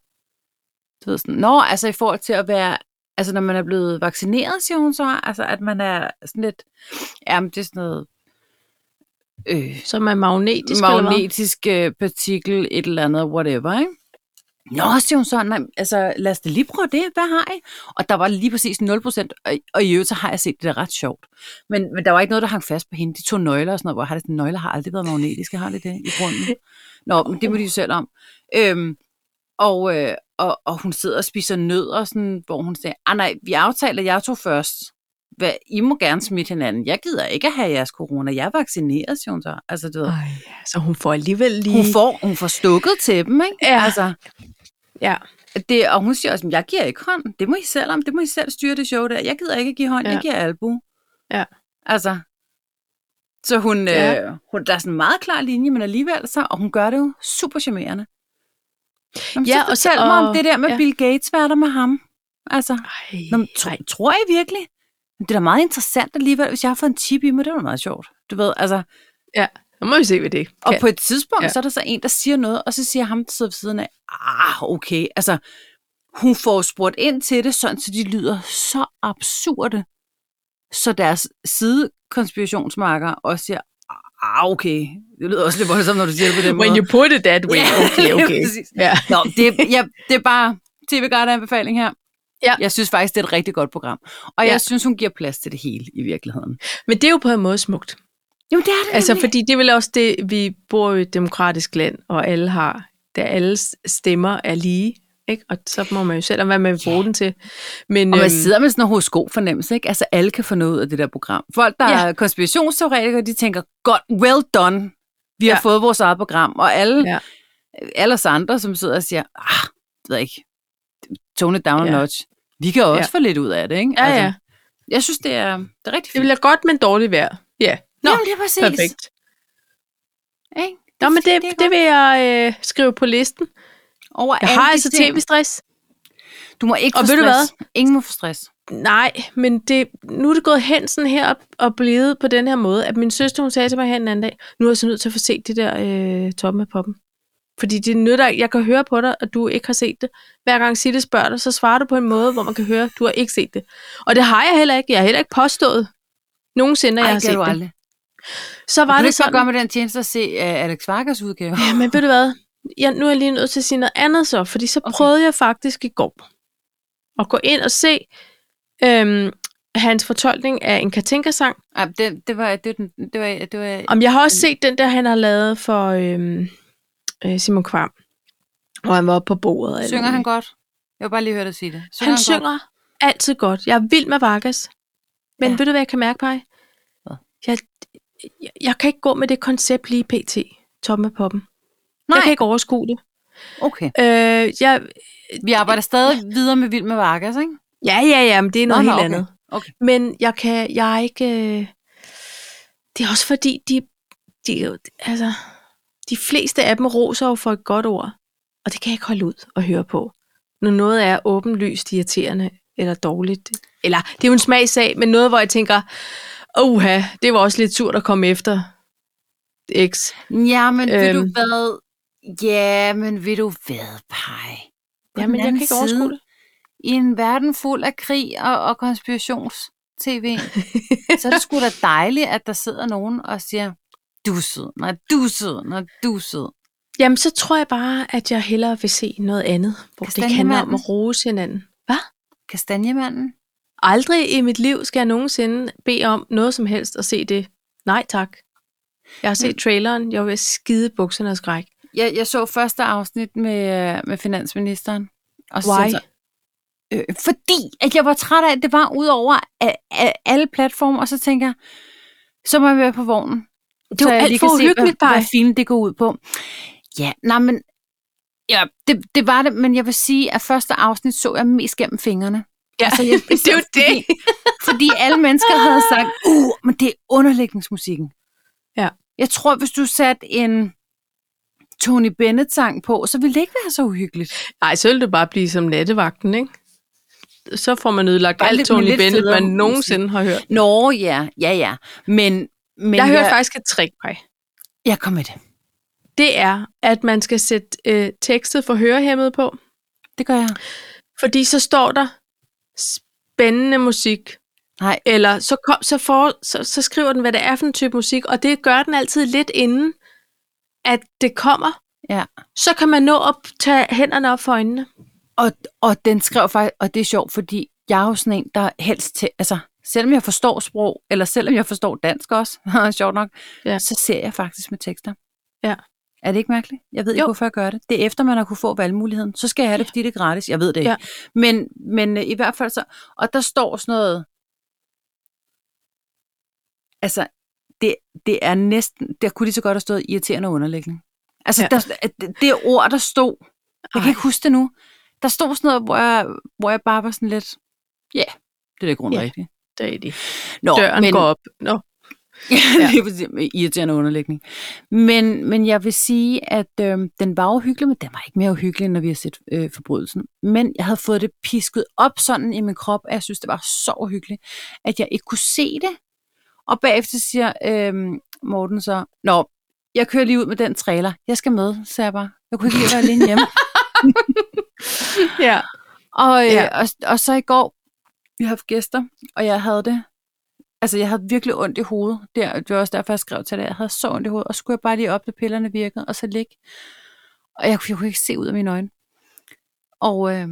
Du ved sådan, nå, altså i forhold til at være, altså når man er blevet vaccineret, siger hun så, altså at man er sådan lidt, jamen det er sådan noget, øh, Som er magnetisk, eller hvad? magnetisk øh, partikel, et eller andet, whatever, ikke? Nå, siger hun så, nej, altså lad os da lige prøve det, hvad har I? Og der var lige præcis 0%, og, og i øvrigt så har jeg set det der er ret sjovt. Men, men der var ikke noget, der hang fast på hende. De to nøgler og sådan noget, hvor har det, nøgler har aldrig været magnetiske, har det det i grunden? Nå, men det må de jo selv om. Øhm, og, øh, og, og hun sidder og spiser nødder, sådan, hvor hun siger, ah nej, vi aftaler, jeg tog først. Hvad, I må gerne smitte hinanden. Jeg gider ikke at have jeres corona. Jeg er vaccineret, siger hun så. Altså, du ved. Ej, ja, så hun får alligevel lige... Hun får, hun får stukket til dem, ikke? Ja. Altså, Ja, det, og hun siger også, "Men jeg giver ikke hånd. Det må I selv om. Det må I selv styre det show der. Jeg gider ikke give hånd. Ja. Ja. Jeg giver albu. Ja. Altså, så hun, Ja. ja. øh, hun, der er sådan en meget klar linje, men alligevel så, og hun gør det jo super charmerende. Jamen, Ja, ja, så og så- fortæl og, mig om og- det der med ja. ja. Bill Gates, hvad er der med ham? Altså, Ej, Nå, men, tro, tror I virkelig? Men Det er da meget interessant alligevel, hvis jeg har fået en tip i mig, det var da meget sjovt. Du ved, altså, nu må vi se, hvad det kan. og på et tidspunkt, Ja. ja. så er der så en, der siger noget, og så siger ham, der sidder ved siden af, ah, okay, altså, hun får spurgt ind til det, sådan så de lyder så absurde, så deres sidekonspirationsmarker også siger, ah, okay, det lyder også lidt voldsomt, når du siger det på den When måde. you put it that way, [LAUGHS] Ja, okay, lige okay. præcis. Ja. Nå, det, ja, det er bare tv guide anbefaling her. Ja. Jeg synes faktisk, det er et rigtig godt program. Og Ja. jeg synes, hun giver plads til det hele i virkeligheden. Men det er jo på en måde smukt. Jo, det er det Altså, nemlig. fordi det er vel også det, vi bor jo i et demokratisk land, og alle har, da alles stemmer er lige, ikke? Og så må man jo selv om, hvad man vil bruge den til. Men, Og man øhm, sidder med sådan en horoskop-fornemmelse, ikke? Altså, alle kan få noget ud af det der program. Folk, der Ja. ja. er konspirationsteoretikere, de tænker, godt, well done. Vi ja. Ja. har fået vores eget program. Og alle, Ja. ja. alle os andre, som sidder og siger, ah, det ved jeg ikke, tone it down Ja. ja. a notch. Vi kan også Ja. ja. få lidt ud af det, ikke? Altså, ja, ja. Jeg synes, det er, det er rigtig Det fint. vil være godt, men dårligt vejr. Ja, Nå, Jamen, det er præcis. perfekt. Ikke? Det Nå, er men fint, det, er det godt. vil jeg øh, skrive på listen. Over Jeg alle har de altså ting. tv-stress. Du må ikke Og få ved du hvad? stress. Ingen må få stress. Nej, men det, nu er det gået hen sådan her og- og blevet på den her måde, at min søster, hun sagde til mig her den anden dag, nu er jeg så nødt til at få set det der øh, toppen af poppen. Fordi det nytter ikke. Jeg kan høre på dig, at du ikke har set det. Hver gang Sille spørger dig, så svarer du på en måde, hvor man kan høre, at du har ikke set det. Og det har jeg heller ikke. Jeg har heller ikke påstået nogensinde, at jeg har set det. Så var Var det det så sådan, gøre med den tjeneste at se uh, Alex Vargas [LAUGHS] udgave? Ja, men ved du hvad? Jeg, nu er jeg lige nødt til at sige noget andet så, fordi så okay. Okay. prøvede jeg faktisk i går at gå ind og se øhm, hans fortolkning af en Katinka-sang. Ja, det, det var... Det, var den- det var, det var Om jeg har også set den der, han har lavet for øhm, øh, Simon Kvam, hvor han var oppe på bordet. og alt synger han muligt. godt? Jeg vil bare lige høre dig sige det. Han, han godt? synger altid godt. Jeg er vild med Vargas. Men ja. Ja. ved du, hvad jeg kan mærke, Paj? Hvad? Jeg, jeg, jeg kan ikke gå med det koncept lige pt. Toppen af poppen. Nej, Jeg kan ikke overskue det. okay. Øh, jeg, Vi arbejder stadig videre med Vild med Vargas, ikke? Ja, ja, ja, men det er noget Nå, Nå, nå, helt okay. andet. Okay. Men jeg kan, jeg er ikke... øh, Det er også fordi, de, de, er jo- altså, de fleste af dem roser jo for et godt ord, og det kan jeg ikke holde ud og høre på. Når noget er åbenlyst irriterende eller dårligt, eller det er jo en smagsag, men noget, hvor jeg tænker, oha, det var også lidt surt at komme efter X. Ja, men ved du Øhm. hvad? Ja, men ved du hvad, Paj? På den Jamen, jeg anden kan ikke overskue side, det. I en verden fuld af krig og, og [LAUGHS] konspirations-tv, så er det sgu da dejligt, at der sidder nogen og siger, du er sød, nej, du er sød, nej, du er sød. Jamen, så tror jeg bare, at jeg hellere vil se noget andet, hvor det handler om Kastanjemanden. at rose hinanden. Hvad? Kastanjemanden? Aldrig i mit liv skal jeg nogensinde bede om noget som helst at se det. Nej tak. Jeg har set traileren, jeg var ved at skide bukserne og skræk. Jeg, jeg så første afsnit med, øh, med finansministeren. Og så Why? sagde jeg så, øh, fordi at jeg var træt af, at det var ud over af, af alle platforme, og så tænker jeg, så må jeg være på vognen. Det var så jeg alt lige for kan se, uhyggeligt, hvad, Paj. hvad filmen det går ud på. Ja, nej, men ja, det, det var det, men jeg vil sige, at første afsnit så jeg mest gennem fingrene. Ja, Altså, jeg, [LAUGHS] det er jo det. Fordi, fordi [LAUGHS] alle mennesker havde sagt, uh, men det er underlægningsmusikken. Ja. Jeg tror, hvis du satte en Tony Bennett-sang på, så ville det ikke være så uhyggeligt. Nej, så ville det bare blive som nattevagten, ikke? Så får man ødelagt Bare alt lidt- Tony lidt Bennett, federe man musik. nogensinde har hørt. Nå, ja, ja, ja. Men, men Jeg har hørt jeg, faktisk et trick, Paj. jeg kom med det. Det er, at man skal sætte øh, tekstet for hørehæmmet på, Det gør jeg. fordi så står der spændende musik Nej, Eller så, kom, så, for, så, så skriver den, hvad det er for en type musik, og det gør den altid lidt inden, at det kommer. Ja. Så kan man nå at tage hænderne op for øjnene. Og, og den skrev faktisk, og det er sjovt, fordi jeg er jo sådan en, der helst til, altså selvom jeg forstår sprog, eller selvom jeg forstår dansk også, [LAUGHS] haha, sjovt nok, Ja. ja. så ser jeg faktisk med tekster. Ja. Er det ikke mærkeligt? Jeg ved ikke, Jo. hvorfor jeg gør det. Det er efter, man har kunne få valgmuligheden. Så skal jeg have det, fordi det er gratis. Jeg ved det ikke. Ja. Ja. Men, men øh, i hvert fald så, og der står sådan noget, altså, det, det er næsten, der kunne lige så godt have stået irriterende underlægning. Altså, Ja. ja. der, at det- det ord, der stod, jeg Ej. kan ikke huske det nu. Der stod sådan noget, hvor jeg, hvor jeg bare var sådan lidt, ja, yeah, det er da ikke rundt Ja. yeah. rigtigt. Det er det. Nå, Døren men... går op. Nå. [LAUGHS] Ja. det er præcis- med irriterende underlægning. Men, men jeg vil sige, at øh, den var uhyggelig, men den var ikke mere uhyggelig, når vi har set øh, forbrydelsen. Men jeg havde fået det pisket op sådan i min krop, at jeg synes, det var så uhyggeligt, at jeg ikke kunne se det. Og bagefter siger øh, Morten så, Nå, jeg kører lige ud med den trailer. Jeg skal med, så jeg bare. Jeg kunne ikke lide at være alene hjemme. Ja. Og, øh, Ja. ja. og, og så i går, vi har haft gæster, og jeg havde det. Altså, jeg havde virkelig ondt i hovedet. Der, det var også derfor, jeg skrev til dig. Jeg havde så ondt i hovedet, og så skulle jeg bare lige op, da pillerne virkede, og så ligge. Og jeg, kunne- jeg kunne ikke se ud af mine øjne. Og, øh,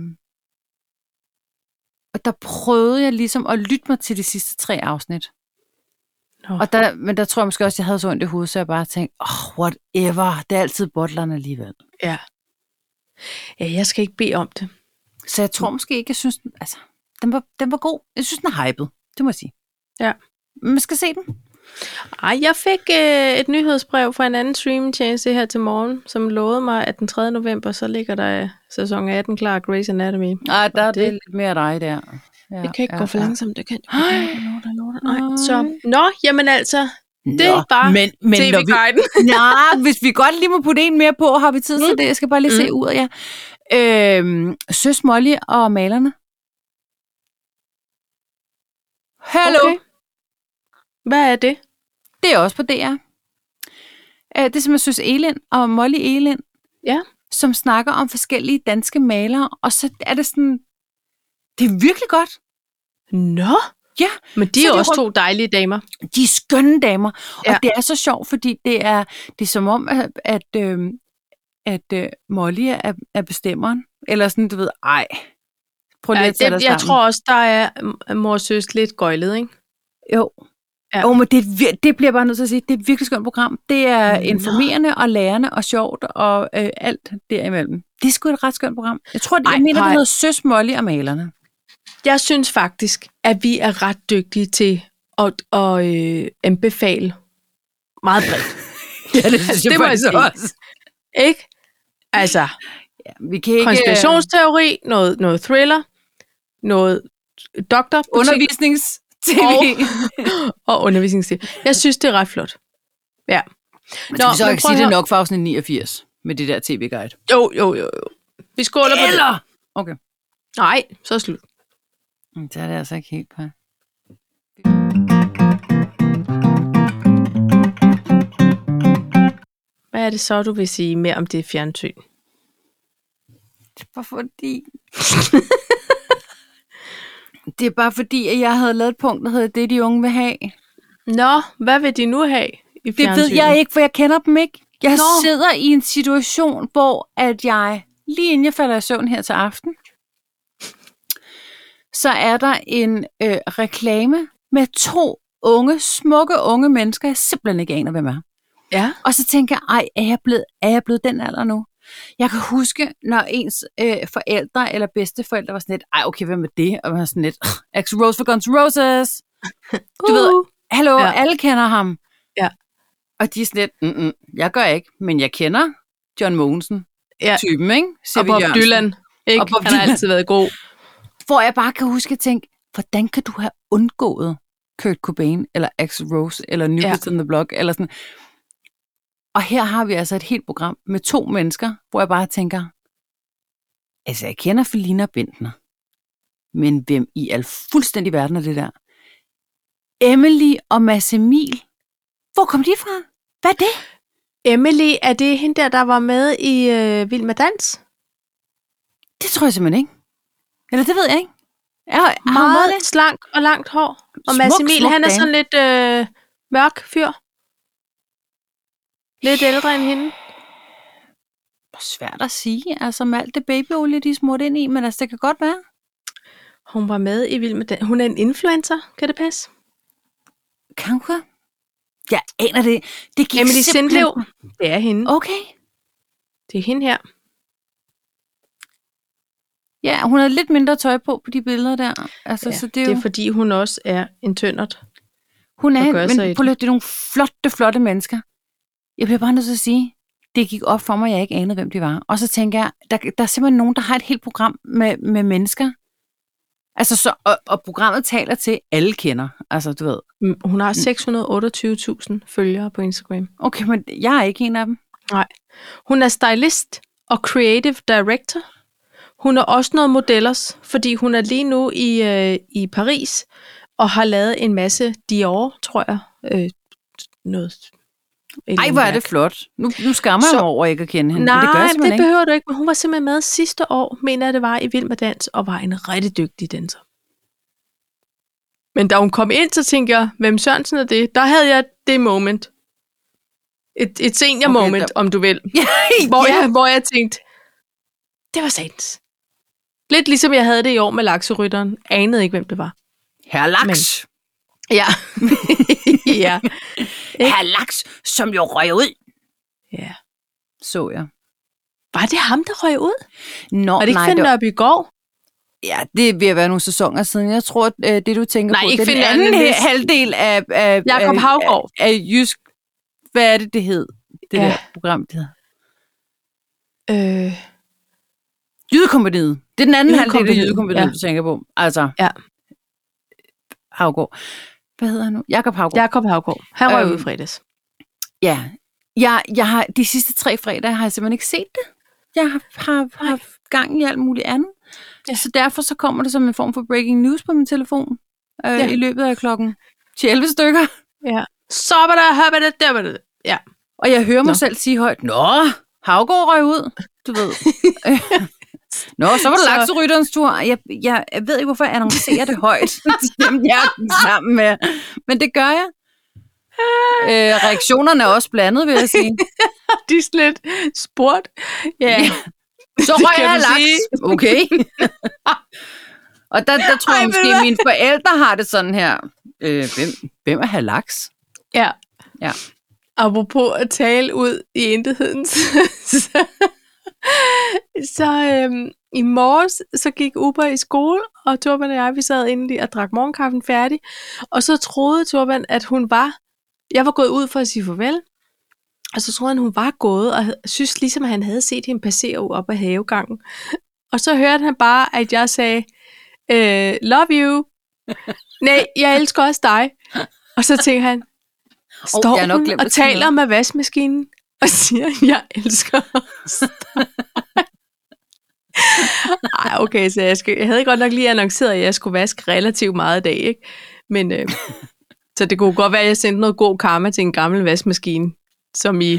og der prøvede jeg ligesom at lytte mig til de sidste tre afsnit. Nå. Og der, men der tror jeg måske også, at jeg havde så ondt i hovedet, så jeg bare tænkte, oh, whatever, det er altid bottlerne alligevel. ja. Ja, jeg skal ikke bede om det. Så jeg Mm. tror måske ikke, jeg synes, den- altså, den var, den var god. Jeg synes, den er hyped, det må jeg sige. Ja. Man skal se den. Ej, jeg fik øh, et nyhedsbrev fra en anden streamingtjeneste her til morgen, som lovede mig, at den 3. november, så ligger der øh, sæson 18 klar af Grey's Anatomy. Ja, Nej, der er det, det- det lidt mere dig der. Ja, det kan ikke ja, gå for langsomt, det kan ikke. Ej. Nej, så, nå, jamen altså, det Nå, er bare men, men når vi, tv-guiden. nej, hvis vi godt lige må putte en mere på, har vi tid Mm. til det. Jeg skal bare lige se ud af jer. Øhm, Søs Molly og malerne. Hallo. Okay. Okay. Hvad er det? Det er også på DR. Øh, Det er simpelthen Søs Elind og Molly Elind, Ja. som snakker om forskellige danske malere, og så er det sådan, det er virkelig godt. Nå, Ja, men de Så er de også to dejlige damer. de er skønne damer. Ja. Og det er så sjovt, fordi det er, det er som om, at, at, øh, at øh, Molly er, er bestemmeren. Eller sådan, du ved, ej. Prøv lige Ja, at tage det, dig jeg sammen. tror også, der er m- mor og søs lidt gøjlet, ikke? Jo. Ja. Ja. Jo, men det, er vir- det bliver jeg bare nødt til at sige, det er et virkelig skønt program. Det er Nå. informerende og lærende og sjovt og øh, alt derimellem. Det er sgu et ret skønt program. Jeg tror, det, Ej, jeg mener, det nej. hedder Søs Molly og Malerne. Jeg synes faktisk, at vi er ret dygtige til at, at øh, anbefale meget [LAUGHS] [LAUGHS] bredt. Ja, det jeg faktisk også. Ikke? Altså, Ja, vi kan ikke... konspirationsteori, noget, noget thriller, noget doktor øh, Undervisnings-TV. Og- og undervisningsstil. Jeg synes, det er ret flot. Ja. Men skal vi så men ikke prøv sige at det høre. nok for afsnit 89 med det der tv-guide. Jo, jo, jo. jo. Vi skåler på det. Eller! Okay. Nej, så er slut. Mm, Så er det altså ikke helt på. Hvad er det så, du vil sige mere om det fjernsyn? Det er bare fordi... [LAUGHS] det er bare fordi, at jeg havde lavet et punkt, der hedder det, de unge vil have. Nå, hvad vil de nu have i Det fjernsynet? ved jeg ikke, for jeg kender dem ikke. Jeg Nå. Nå. sidder i en situation, hvor at jeg, lige inden jeg falder i søvn her til aften, så er der en øh, reklame med to unge, smukke unge mennesker, jeg simpelthen ikke aner, hvem er. Ja. Og så tænker jeg, ej, er jeg blevet, er jeg blevet den alder nu? Jeg kan huske, når ens øh, forældre eller bedsteforældre var sådan lidt, ej, okay, hvem er det? Og man var sådan lidt, X Rose for Guns N' Roses. Du ved, Hallo, Ja. ja. alle kender ham. Ja. Og de er sådan lidt, mm -mm, jeg gør ikke, men jeg kender John Mogensen. Ja. Typen, ikke? og C.V. Bob Jørgensen. Dylan. Ikke? Og Bob Han har Dylan. altid været god. Hvor jeg bare kan huske at tænke, hvordan kan du have undgået Kurt Cobain, eller Axl Rose, eller New Ja. Kids on the Block, eller sådan. Og her har vi altså et helt program med to mennesker, hvor jeg bare tænker, altså jeg kender Felina Bentner, men hvem i al fuldstændig verden er det der? Emily og Mads Emil, hvor kom de fra? Hvad er det? Emily, er det hende der, der var med i øh, Vild med Dans? Det tror jeg simpelthen ikke. Eller det ved jeg ikke. Er, har hun været Meget det? slank og langt hår. Og Smuk, Mads Emil, smuk han er dame. sådan lidt øh, mørk fyr. Lidt ældre end hende. Det er svært at sige, altså med alt det babyolie, de er smurt ind i, men altså det kan godt være. Hun var med i Vild med Dans. Hun er en influencer, kan det passe? Kanka? Jeg aner det. Det gik Emily simpelthen- Sindlev. Det er hende. Okay. Oh. Det er hende her. Ja, hun har lidt mindre tøj på på de billeder der. Altså, Ja, så det er det jo, er fordi, hun også er en tøndert. hun er, at en- gøre sig i men prøv lige, at- det er nogle flotte, flotte mennesker. Jeg bliver bare nødt til at sige, det gik op for mig, jeg ikke anede, hvem de var. Og så tænker jeg, der, der er simpelthen nogen, der har et helt program med, med mennesker, Altså, så, og, og programmet taler til, alle kender. Altså, du ved. Mm, Hun har 628.000 følgere på Instagram. Okay, men jeg er ikke en af dem. Hun er stylist og creative director. Hun er også noget modellers, fordi hun er lige nu i, øh, i Paris og har lavet en masse Dior, tror jeg. Øh, noget. et eller Ej, andet hvor er mærke. det flot. Nu, nu skammer så, Så- jeg mig over ikke at kende hende. Nej, men det gør jeg det, simpelthen det ikke. behøver du ikke, men hun var simpelthen med sidste år, mener jeg det var, i Vild med Dans, og var en rigtig dygtig danser. Men da hun kom ind, så tænkte jeg, hvem Sørensen er det? Der havde jeg det moment. Et, et senior Okay, okay, moment, der- om du vil. [LAUGHS] Ja, [LAUGHS] Hvor, ja. jeg, hvor jeg tænkte, det var satans. Lidt ligesom jeg havde det i år med lakserytteren. Anede ikke, hvem det var. Herr Laks. Ja. [LAUGHS] ja. Men, Herr Laks, som jo røg ud, ja. så jeg. Var det ham, der røg ud? Nå, Var det ikke nej, Finn det, Nørby i går? ja, det er ved at være nogle sæsoner siden. Jeg tror, at øh, det du tænker Nej, på, ikke det er den Finn anden Nørby. he- halvdel af, af, Jakob af, Haugaard. af, af Jysk. Hvad er det, det hed? Det Ja. ja. der program, det hedder. Øh, Jydekompaniet. Det er den anden halvdel af Jydekompagniet, Jydekompaniet, ja. ja. du tænker på. Altså, Ja. Havgård. Hvad hedder han nu? Jakob Havgård. Jakob Havgaard. Han røg Øhm, ud i fredags. Ja. Jeg, jeg har, de sidste tre fredage har jeg simpelthen ikke set det. Jeg har, har, har haft gang i alt muligt andet. Ja. Ja. Så derfor så kommer det som en form for breaking news på min telefon øh, Ja. ja. i løbet af klokken 11 stykker. Så var der, hør det, der var det. Ja. Og jeg hører mig Nå. Nå. selv sige højt, Nå, Havgård røg ud, du [LAUGHS] ved. Nå, så var det Så- lakserytterens tur. Jeg, jeg, jeg ved ikke, hvorfor jeg annoncerer det højt [LAUGHS] til dem, jeg er sammen med. Men det gør jeg. Øh, reaktionerne er også blandet, vil jeg sige. De er sådan lidt spurgt. [LAUGHS] Ja. Ja. Så Det røg kan jeg du laks. sige. [LAUGHS] Okay. Og der, der tror Ej, jeg ved måske, du at hvad? mine forældre har det sådan her. Øh, hvem, hvem er her laks? ja. Ja. Apropos at tale ud i intetheden, [LAUGHS] så, så øhm, i morges, så gik Uber i skole, og Turban og jeg, vi sad inde lige og drak morgenkaffen færdig, og så troede Turban, at hun var, jeg var gået ud for at sige farvel, og så troede han, hun var gået, og havde- synes ligesom, at han havde set hende passere op ad havegangen. [LAUGHS] Og så hørte han bare, at jeg sagde, øh, love you. [LAUGHS] Nej, jeg elsker også dig. Og så tænkte han, står jeg har nok oh, hun glemt og at sige taler med vaskemaskinen [LAUGHS] og siger, jeg elsker også dig." [LAUGHS] Ej, okay, så jeg, skal, jeg havde godt nok lige annonceret, at jeg skulle vaske relativt meget i dag, ikke? Men, øh, så det kunne godt være, at jeg sendte noget god karma til en gammel vaskemaskine, som i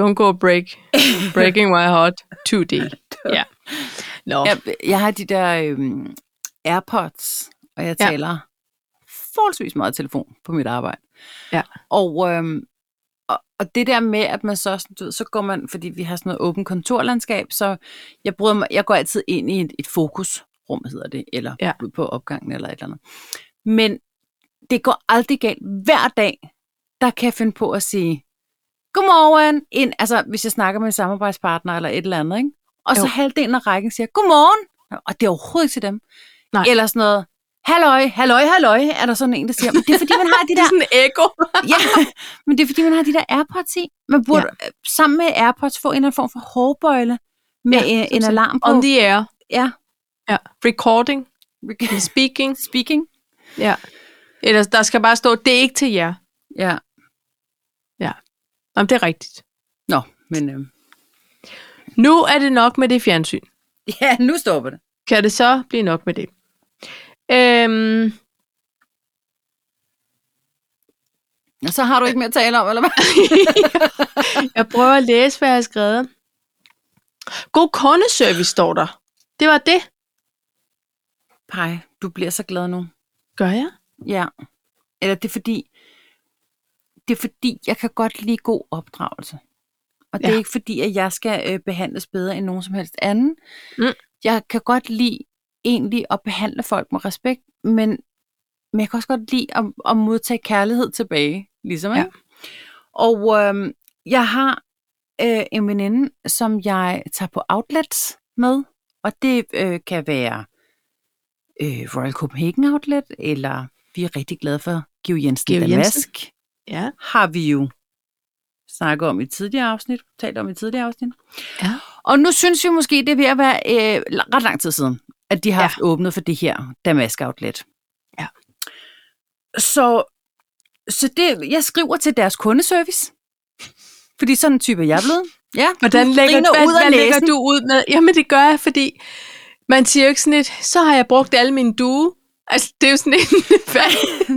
Don't go [LAUGHS] break, breaking my heart 2D. [LAUGHS] Ja. Nå. Jeg, jeg har de der øhm, AirPods, og jeg Ja. taler forholdsvis meget i telefon på mit arbejde. Ja. Og, øhm, og, og det der med, at man så, sådan, du ved, så går man, fordi vi har sådan noget åbent kontorlandskab, så jeg, bryder mig, jeg går altid ind i et, et fokusrum, hedder det, eller Ja. ja. ud på opgangen eller et eller andet. Men det går aldrig galt. Hver dag, der kan jeg finde på at sige, godmorgen, ind, altså hvis jeg snakker med en samarbejdspartner eller et eller andet, ikke? Og så Jo. halvdelen af rækken siger, godmorgen, og det er overhovedet ikke til dem. Nej. Eller sådan noget, halløj, halløj, halløj, er der sådan en, der siger, men det er fordi, man har de Det [LAUGHS] er der, sådan et ekko. ja, men det er fordi, man har de der AirPods i. Man burde ja. sammen med AirPods få en eller anden form for hårbøjle med Ja, ja, en, som en sådan. alarm på. On the air. ja. Ja. Recording. Speaking. Speaking. Ja. Ellers der skal bare stå, det er ikke til jer. Ja, Jamen, det er rigtigt. nå, men øhm, Nu er det nok med det fjernsyn. ja, nu stopper det. Kan det så blive nok med det? Øhm, Og så har du ikke mere at tale om, eller hvad? jeg prøver at læse, hvad jeg har skrevet. God kundeservice står der. Det var det. Pej, du bliver så glad nu. Gør jeg? Ja. Eller det er fordi, det er fordi, jeg kan godt lide god opdragelse. Og det ja. Ja. er ikke fordi, at jeg skal øh, behandles bedre end nogen som helst anden. Mm. Jeg kan godt lide egentlig at behandle folk med respekt, men, men jeg kan også godt lide at, at modtage kærlighed tilbage, ligesom. Ja. Ja. Og øhm, jeg har øh, en veninde, som jeg tager på outlets med, og det øh, kan være øh, Royal Copenhagen Outlet, eller vi er rigtig glade for Geo Jensen Georg Georg Jensen. Damask, Jensen. Ja. har vi jo snakket om i tidligere afsnit, talt om i tidligere afsnit. Ja. Og nu synes vi måske, det er ved at være øh, la- ret lang tid siden, at de har Ja. haft åbnet for det her Damask Outlet. Ja. Så, så det, jeg skriver til deres kundeservice, fordi sådan en type er jeg blevet. Ja, Hvordan du lægger, griner hvad, ud af hvad lægger næsen. du ud med? Jamen, det gør jeg, fordi man siger jo ikke sådan et, så har jeg brugt alle mine due. Altså, det er jo sådan en... [LAUGHS] [LAUGHS] Hvad?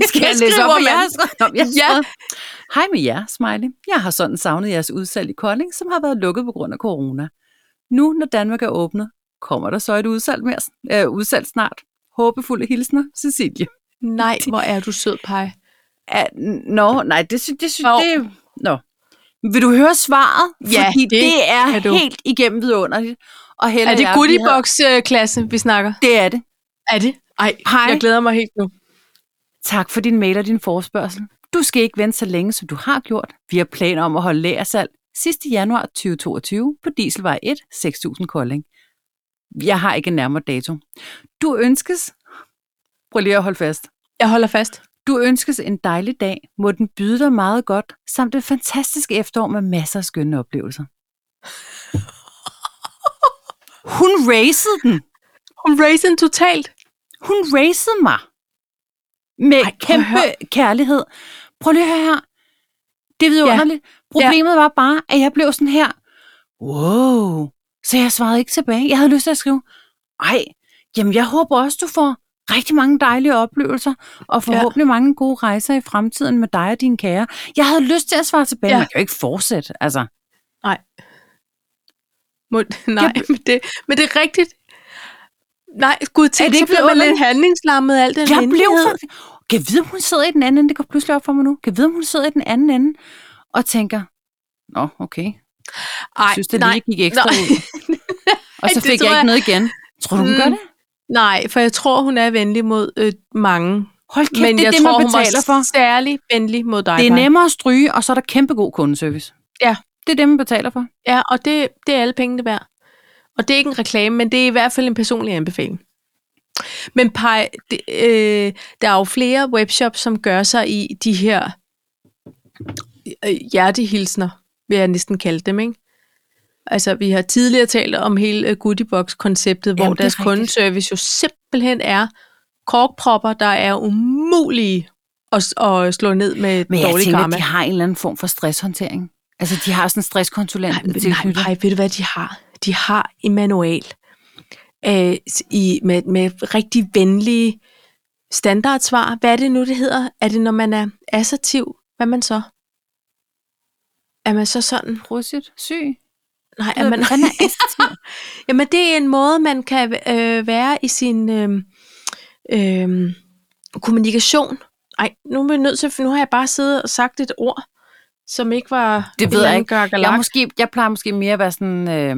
Skal jeg Hvad læse op, skriver hvad jeg man? har skrevet? Nå, jeg har Ja. skrevet, Hej med jer, Smiley. Jeg har sådan savnet jeres udsalg i Kolding, som har været lukket på grund af corona. Nu, når Danmark er åbnet, kommer der så et udsalg, mere, øh, udsalg snart. Håbefulde hilsner, Cecilie. Nej, hvor er du sød, Paj. Ja, n- Nå, nej, det synes det, sy- Nå. det Nå. Vil du høre svaret? Ja, Fordi det det er kan du. helt igennem vidunderligt. Og Helle Er og det jeg, vi havde- goodiebox-klassen, vi snakker? Det er det. Er det? Ej, Paj. jeg glæder mig helt nu. Tak for din mail og din forespørgsel. Du skal ikke vente så længe, som du har gjort. Vi har planer om at holde lagersalg sidste januar 2022 på Dieselvej 1, 6000 Kolding. Jeg har ikke en nærmere dato. Du ønskes... Prøv lige at holde fast. Jeg holder fast. Du ønskes en dejlig dag. Må den byde dig meget godt, samt et fantastisk efterår med masser af skønne oplevelser. Hun racede den. Hun raised den totalt. Hun racede mig med Ej, Ej, prøv at kæmpe kærlighed. Prøv lige at høre her. Det er vidunderligt. Ja. Problemet var bare, at jeg blev sådan her. Wow. Så jeg svarede ikke tilbage. Jeg havde lyst til at skrive, ej, jamen jeg håber også, du får rigtig mange dejlige oplevelser, og forhåbentlig ja. mange gode rejser i fremtiden med dig og dine kære. Jeg havde lyst til at svare tilbage, Ja. ja. men jeg kan jo ikke fortsætte. Altså, Må, [LAUGHS] nej, men det, men det er rigtigt. Nej, gud, tænk, Er det så ikke bliver man vidunderligt? lidt handlingslammet af alt den Jeg blev venlighed. faktisk... Kan jeg vide, om hun sidder i den anden ende? Det går pludselig op for mig nu. Kan jeg vide, om hun sidder i den anden ende og tænker, Nå, okay. Jeg Ej, synes, det nej, lige gik ekstra nej. ud. Og så det fik jeg tror ikke jeg- noget igen. Tror du, hun Mm. gør det? nej, for jeg tror, hun er venlig mod øh, mange. Hold kæft, men det er jeg det, tror, man hun var betaler for. særlig venlig mod dig. Det er Maj. nemmere at stryge, og så er der kæmpe god kundeservice. Ja. Det er det, man betaler for. Ja, og det, det er alle pengene værd. Og det er ikke en reklame, men det er i hvert fald en personlig anbefaling. Men Paj, det, øh, der er jo flere webshops, som gør sig i de her øh, hjertehilsner, vil jeg næsten kalde dem, ikke? Altså, vi har tidligere talt om hele øh, goodiebox-konceptet, hvor Jamen, det er deres rigtigt. kundeservice jo simpelthen er korkpropper, der er umulige at, s- at slå ned med Men jeg dårlig tænker, karma. at de har en eller anden form for stresshåndtering. Altså, de har sådan en stresskonsulent Nej, men- nej, tilknyttet. nej, ved du hvad de har? De har en manual øh, s- i, med, med rigtig venlige standardsvar. Hvad er det nu, det hedder? Er det, når man er assertiv? Hvad er man så? Er man så sådan? Russet, syg. Nej, er Ved, man... han er assertiv. [LAUGHS] Jamen, det er en måde, man kan øh, være i sin øh, øh, kommunikation. Ej, nu er vi nødt til, for nu har jeg bare siddet og sagt et ord, som ikke var... Det en ved eller jeg anden ikke. Jeg, er gakkelak. måske, jeg plejer måske mere at være sådan øh,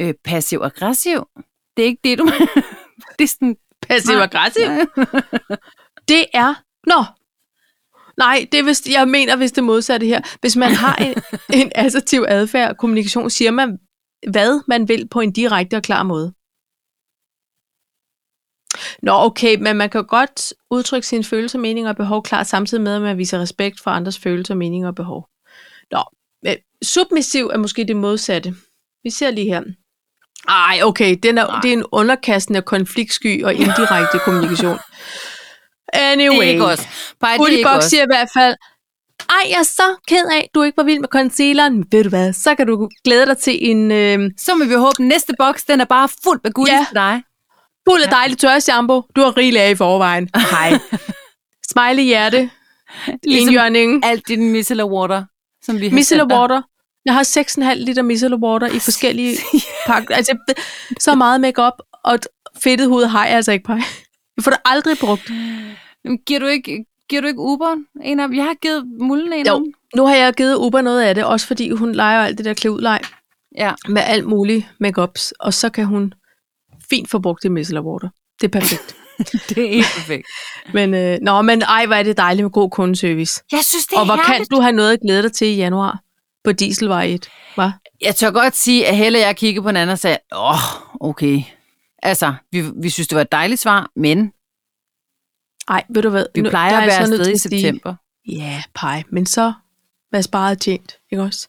øh, passiv-aggressiv. Det er ikke det, du... [LAUGHS] det er sådan... Passiv-aggressiv? Nej. [LAUGHS] Det er... Nå! Nej, det er vist, jeg mener, hvis det modsatte her. Hvis man har [LAUGHS] en, en assertiv adfærd og kommunikation, siger man, hvad man vil på en direkte og klar måde. Nå, okay, men man kan godt udtrykke sine følelser, meninger og behov klart, samtidig med, at man viser respekt for andres følelser, meninger og behov. Nå, men submissiv er måske det modsatte. Vi ser lige her. Ej, okay, den er, det er en underkastende, konfliktsky og indirekte kommunikation. Anyway. [LAUGHS] Det er ikke os. Pej, det er ikke Box os. siger i hvert fald, ej, jeg er så ked af, du ikke var vild med concealeren. Ved du hvad, så kan du glæde dig til en øh, Så må vi håbe, at næste boks, den er bare fuld med guld Ja. ja. til [LAUGHS] dig. fuld af dejlig tørreshampoo. Du har rigeligt af i forvejen. Hej. Smiley hjerte. [LAUGHS] Ligesom- Indjørningen. Alt din micellar water, som vi har Micellar sendt dig. water. Jeg har 6,5 liter micellar water i forskellige [LAUGHS] pakker. Altså, jeg ved- så meget makeup og et fedtet hoved har jeg altså ikke på. Jeg får det aldrig brugt. Jamen, Giver du ikke, giver du ikke Uber en af dem? Jeg har givet Mullen en Jo. af dem. Nu har jeg givet Uber noget af det, også fordi hun leger alt det der klæudlej. Ja. med alt muligt makeups, og så kan hun fint få brugt det micellar water. Det er [LAUGHS] perfekt. [LAUGHS] Det er ikke perfekt. men, øh, nå, men ej, hvor er det dejligt med god kundeservice. Jeg synes, det er Og hvor kan herligt. du have noget at glæde dig til i januar på Dieselvej 1? Hva? Jeg tør godt sige, at Helle og jeg kiggede på hinanden og sagde, åh, oh, okay. Altså, vi, vi synes, det var et dejligt svar, men Ej, ved du hvad? vi nu- plejer der er at jeg være så nødt afsted til i at sige- september. Ja, pej, men så hvad sparet er tjent, ikke også?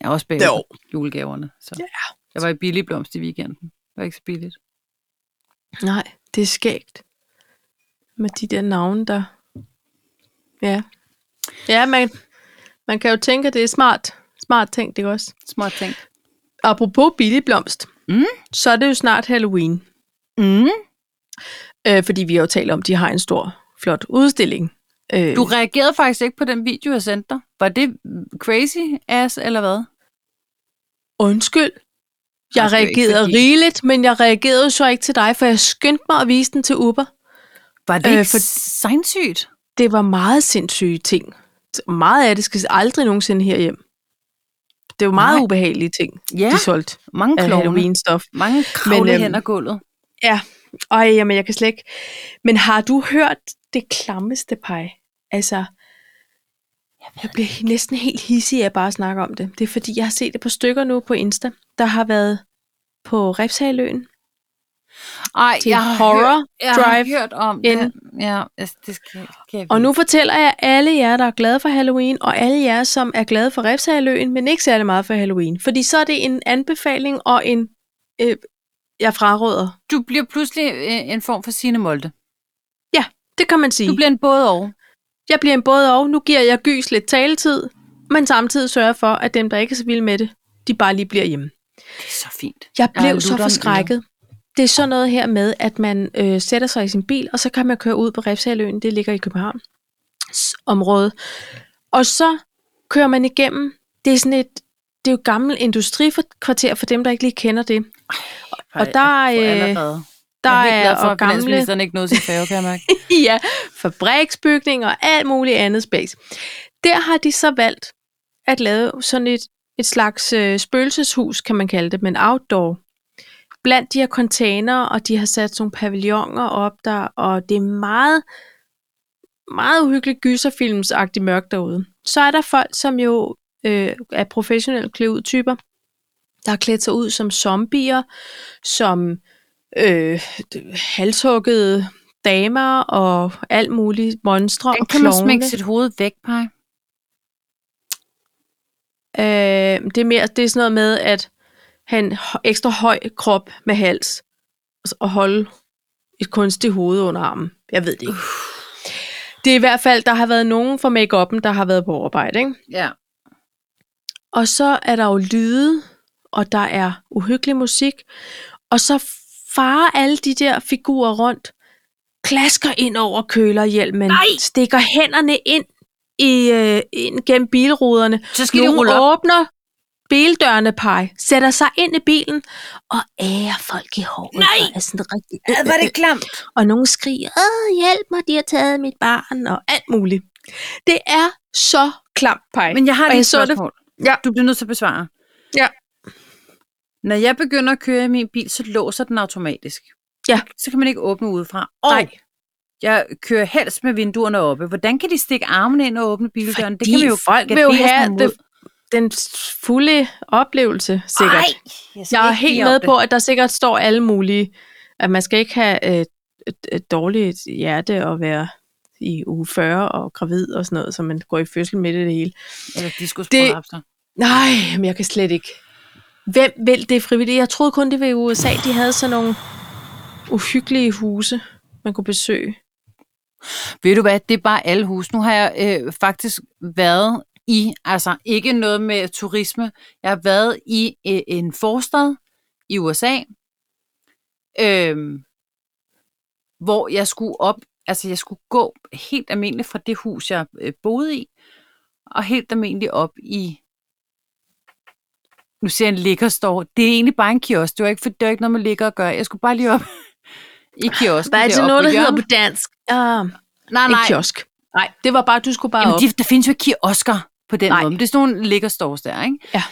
Jeg er også bagud julegaverne. Så. Ja. Jeg var i billig blomst i weekenden. Det var ikke så billigt. Nej, det er skægt. Med de der navne, der... Ja. Ja, man, man kan jo tænke, at det er smart. Smart tænkt, ikke også? Smart ting. Apropos billig blomst, Mm. så er det jo snart Halloween. Mm. Øh, fordi vi har jo talt om, at de har en stor, flot udstilling. Øh, Du reagerede faktisk ikke på den video, jeg sendte dig. Var det crazy ass, eller hvad? Undskyld. Jeg Altså, det er ikke reagerede fordi- rigeligt, men jeg reagerede så ikke til dig, for jeg skyndte mig at vise den til Uber. Var det Øh, øh, ikke for... for- sindssygt? Det var meget sindssyge ting. Meget af det skal aldrig nogensinde herhjem. Det var meget Nej. Nej. ubehagelige ting, Ja, ja. de solgte mange af klovne. Halloween-stof. Øh, Mange kravle øhm, hen ad gulvet. Ja, Ej, jamen, jeg kan slet ikke. Men har du hørt det klammeste pej? Altså, jeg, jeg bliver he- næsten helt hissig af bare at snakke om det. Det er fordi, jeg har set et par stykker nu på Insta, der har været på Refshaløen Ej, til jeg har, horror hørt, jeg drive har hørt om in. det. Ja, altså, det skal, jeg- skal jeg Og vide. nu fortæller jeg alle jer, der er glade for Halloween, og alle jer, som er glade for Refshaløen, men ikke særlig meget for Halloween. Fordi så er det en anbefaling og en... Øh, jeg fraråder. Du bliver pludselig øh, en form for sine Molde. Det kan man sige. Du bliver en både og. Jeg bliver en både og. Nu giver jeg gys lidt taletid, men samtidig sørger for, at dem, der ikke er så vilde med det, de bare lige bliver hjemme. Det er så fint. Jeg Ja, blev lutter så mig forskrækket. Det er sådan noget her med, at man øh, sætter sig i sin bil, og så kan man køre ud på Refshaløen, det ligger i København område. Og så kører man igennem, det er sådan et, det er jo et gammelt industrikvarter for dem, der ikke lige kender det. Og der er, Jeg øh, allerede. Der jeg er helt glad for, er og at gamle finansministeren ikke nåede sin færge, kan jeg mærke. [LAUGHS] ja, fabriksbygninger og alt muligt andet space. Der har de så valgt at lave sådan et, et slags øh, spøgelseshus, kan man kalde det, men outdoor. Blandt de her container, og de har sat sådan nogle pavilloner op der, og det er meget, meget uhyggeligt gyserfilmsagtigt mørkt derude. Så er der folk, som jo øh, er professionelle klæudtyper, der har klædt sig ud som zombier, som øh, halshuggede damer og alt muligt monstre Den og kan man klovne. smække sit hoved væk, Paj. Øh, det, er mere, det er sådan noget med at have en hø- ekstra høj krop med hals og s- og holde et kunstigt hoved under armen. Jeg ved det ikke. Det er i hvert fald, der har været nogen fra make-up'en, der har været på overarbejde. Ikke? Ja. Og så er der jo lyde, og der er uhyggelig musik. Og så farer alle de der figurer rundt, klasker ind over kølerhjelmen, Nej! stikker hænderne ind, i, øh, ind gennem bilruderne, Så skal de nogen rulle op. åbner bildørene, pej, sætter sig ind i bilen og ærer folk i håret. Nej! Og er sådan rigtig, Ja, var det klamt? og nogen skriger, Åh, hjælp mig, de har taget mit barn, og alt muligt. Det er så klamt, pej. Men jeg har Og lige jeg et så det- spørgsmål. Ja. Du bliver nødt til at besvare. Ja. Når jeg begynder at køre i min bil, så låser den automatisk. Ja. Så kan man ikke åbne udefra. Og Nej. jeg kører helst med vinduerne oppe. Hvordan kan de stikke armene ind og åbne bildøren? det kan Fordi vi jo folk vil jo gardere sig have imod. det, den fulde oplevelse, sikkert. Ej, Ej, jeg, skal jeg er ikke helt bede med om det. på, at der sikkert står alle mulige, at man skal ikke have øh, et, et dårligt hjerte og være i uge 40 og gravid og sådan noget, så man går i fødsel midt i det hele. Eller de skulle Det- det... Nej, men jeg kan slet ikke. Hvem vil det frivilligt? Jeg troede kun, det var i USA. De havde sådan nogle uhyggelige huse, man kunne besøge. Ved du hvad, det er bare alle hus. Nu har jeg øh, faktisk været i, altså ikke noget med turisme. Jeg har været i øh, en forstad i USA, øh, hvor jeg skulle op, altså jeg skulle gå helt almindeligt fra det hus, jeg øh, boede i, og helt almindeligt op i nu ser jeg en liggerstore. Det er egentlig bare en kiosk. Det var ikke, for, det var ikke noget med ligger at gøre. Jeg skulle bare lige op [LAUGHS] i kiosken. Hvad er det deroppe noget, på der hedder hjørnet. på dansk? Ah, Nej, en nej. kiosk. Nej, det var bare, du skulle bare Jamen, op. de, der findes jo ikke kiosker på den Nej. måde. men Det er sådan nogle ligger stores der, ikke? Ja.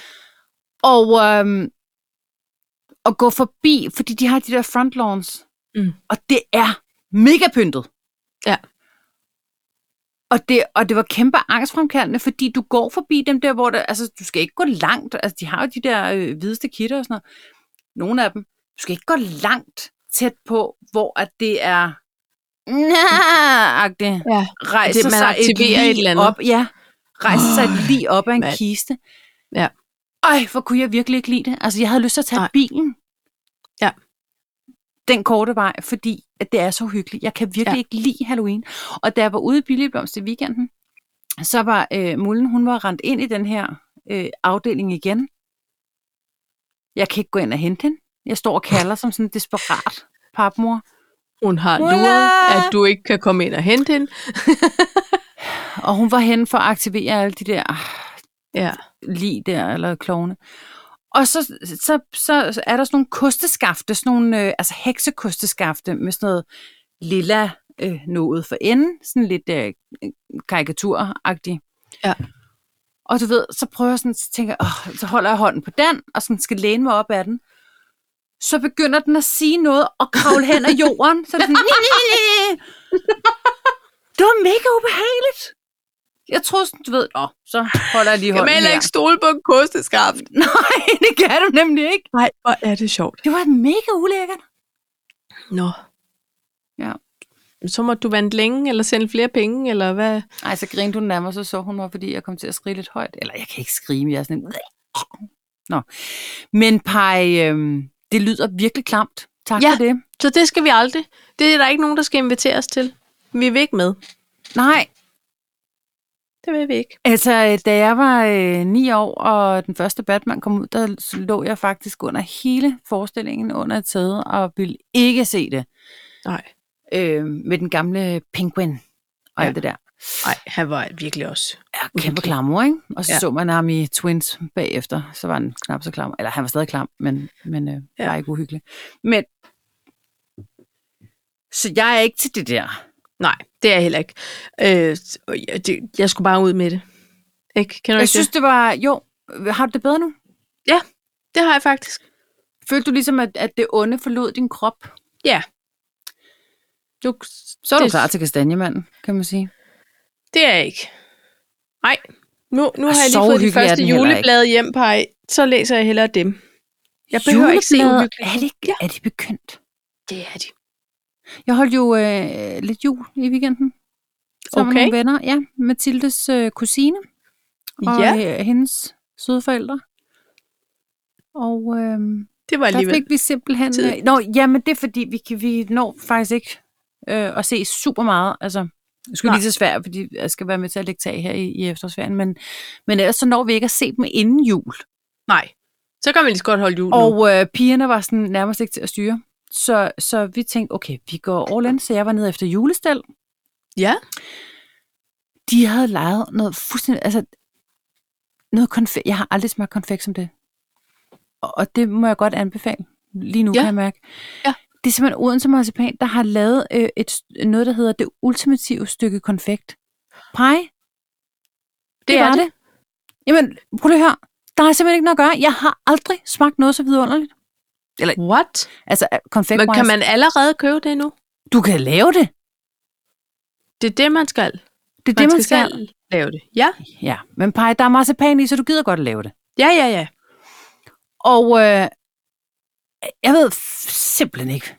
Og øhm, at gå forbi, fordi de har de der frontlawns. Mm. Og det er mega pyntet. Ja. Og det, og det var kæmpe angstfremkaldende, fordi du går forbi dem der, hvor der, altså, du skal ikke gå langt. Altså, de har jo de der øh, hvideste kitter og sådan noget. Nogle af dem. Du skal ikke gå langt tæt på, hvor at det er... Næh-agtigt Ja. rejser Det- man sig et aktiverer lig et eller andet. op, ja, rejser sig et lig op af en mand. kiste. Ja. Øj, hvor kunne jeg virkelig ikke lide det. Altså, jeg havde lyst til at tage Nej. bilen. Ja. den korte vej, fordi at det er så hyggeligt. Jeg kan virkelig ja. Ja. ikke lide Halloween. Og da jeg var ude i Billigblomst i weekenden, så var øh, Mullen, hun var rendt ind i den her øh, afdeling igen. Jeg kan ikke gå ind og hente hende. Jeg står og kalder som sådan en desperat papmor. Hun har Ulla! luret, at du ikke kan komme ind og hente hende. Og hun var henne for at aktivere alle de der ah, Ja. lige der, eller klovne. Og så, så, så, så er der sådan nogle kosteskafte, sådan nogle, øh, altså heksekosteskafte med sådan noget lilla øh, noget for enden, sådan lidt øh, karikaturagtigt. Ja. Og du ved, så prøver jeg sådan, så tænker jeg, åh, så holder jeg hånden på den, og sådan skal læne mig op ad den. Så begynder den at sige noget og kravle hen ad jorden. Så er det sådan, "Ni, ni, ni, ni." det var mega ubehageligt. Jeg troede sådan, du ved, åh, så holder jeg lige Kan man hånden her. heller ikke stole på en kosteskaft? [LAUGHS] Nej, det kan du nemlig ikke. Nej, hvor er det sjovt. Det var mega ulækkert. Nå. Ja. Så må du vente længe, eller sende flere penge, eller hvad? Ej, så grinte hun nærmere, så så hun mig, fordi jeg kom til at skrige lidt højt. Eller jeg kan ikke skrige, men jeg er sådan en... Nå. Men Paj, øhm, det lyder virkelig klamt. Tak Ja. for det. Så det skal vi aldrig. Det er der ikke nogen, der skal inviteres til. Vi vil ikke med. Nej, Det vil vi ikke. altså øh, da jeg var øh, ni år, og den første Batman kom ud, der lå jeg faktisk under hele forestillingen under et sæde, og ville ikke se det Nej. øh, med den gamle penguin og ja. Ja. alt det der. Nej, han var virkelig også. Ja, kæmpe klammer, ikke? Og så ja. Ja. så man ham i Twins bagefter, så var han knap så klam. Eller han var stadig klam, men, men øh, ja. Ja. var ikke uhyggelig. Men, så jeg er ikke til det der. Nej, det er jeg heller ikke. Øh, og jeg, det, jeg skulle bare ud med det. Ikke? Kan du Jeg ikke synes, det? det var, jo, har du det bedre nu? Det har jeg faktisk. Følte du ligesom, at, at det onde forlod din krop? Du, Så er det... du Det- klar til kastanjemanden, kan man sige. det er jeg ikke. Nej. Nu, nu Og har jeg lige så fået de uhyggelig er første den heller ikke. juleblade hjem, Paj. Så læser jeg hellere dem. Jeg behøver ikke se Juleblade, uhyggeligt. Er det, ikke, Ja. er det begyndt? Det er de. Jeg holdt jo øh, lidt jul i weekenden. Sammen med Okay. nogle venner. Ja, Mathildes øh, kusine. og Ja, ja. hendes søde forældre. Og øh, det der var alligevel. fik vi simpelthen... Tid. Øh, nå, jamen det er fordi, vi, kan, vi når faktisk ikke øh, at se super meget. Altså, jeg skulle Nej. lige til Sverige, fordi jeg skal være med til at lægge tag her i, i efterårsferien. Men, men ellers så når vi ikke at se dem inden jul. Nej. Så kan man lige så godt holde jul nu. Og øh, pigerne var sådan nærmest ikke til at styre. Så, så vi tænkte, okay, vi går all in. Så jeg var nede efter julestel. Ja. De havde lejet noget fuldstændig... Altså, noget konfekt. Jeg har aldrig smagt konfekt som det. Og, og det må jeg godt anbefale. Lige nu, ja. Ja. kan jeg mærke. Ja. Det er simpelthen Odense Marcipan, der har lavet øh, et, noget, der hedder det ultimative stykke konfekt. Pej, det, det er var det. det. det. Jamen, prøv lige her. Der er simpelthen ikke noget at gøre. Jeg har aldrig smagt noget så vidunderligt. What? Altså, konfekt Men kan man allerede købe det nu? Du kan lave det. Det er det, man skal. Det er man det, man skal. skal. selv lave det. Ja, Ja, men Paj, der er marcipan i, så du gider godt at lave det. ja, ja. ja. Og øh, jeg ved f- simpelthen ikke.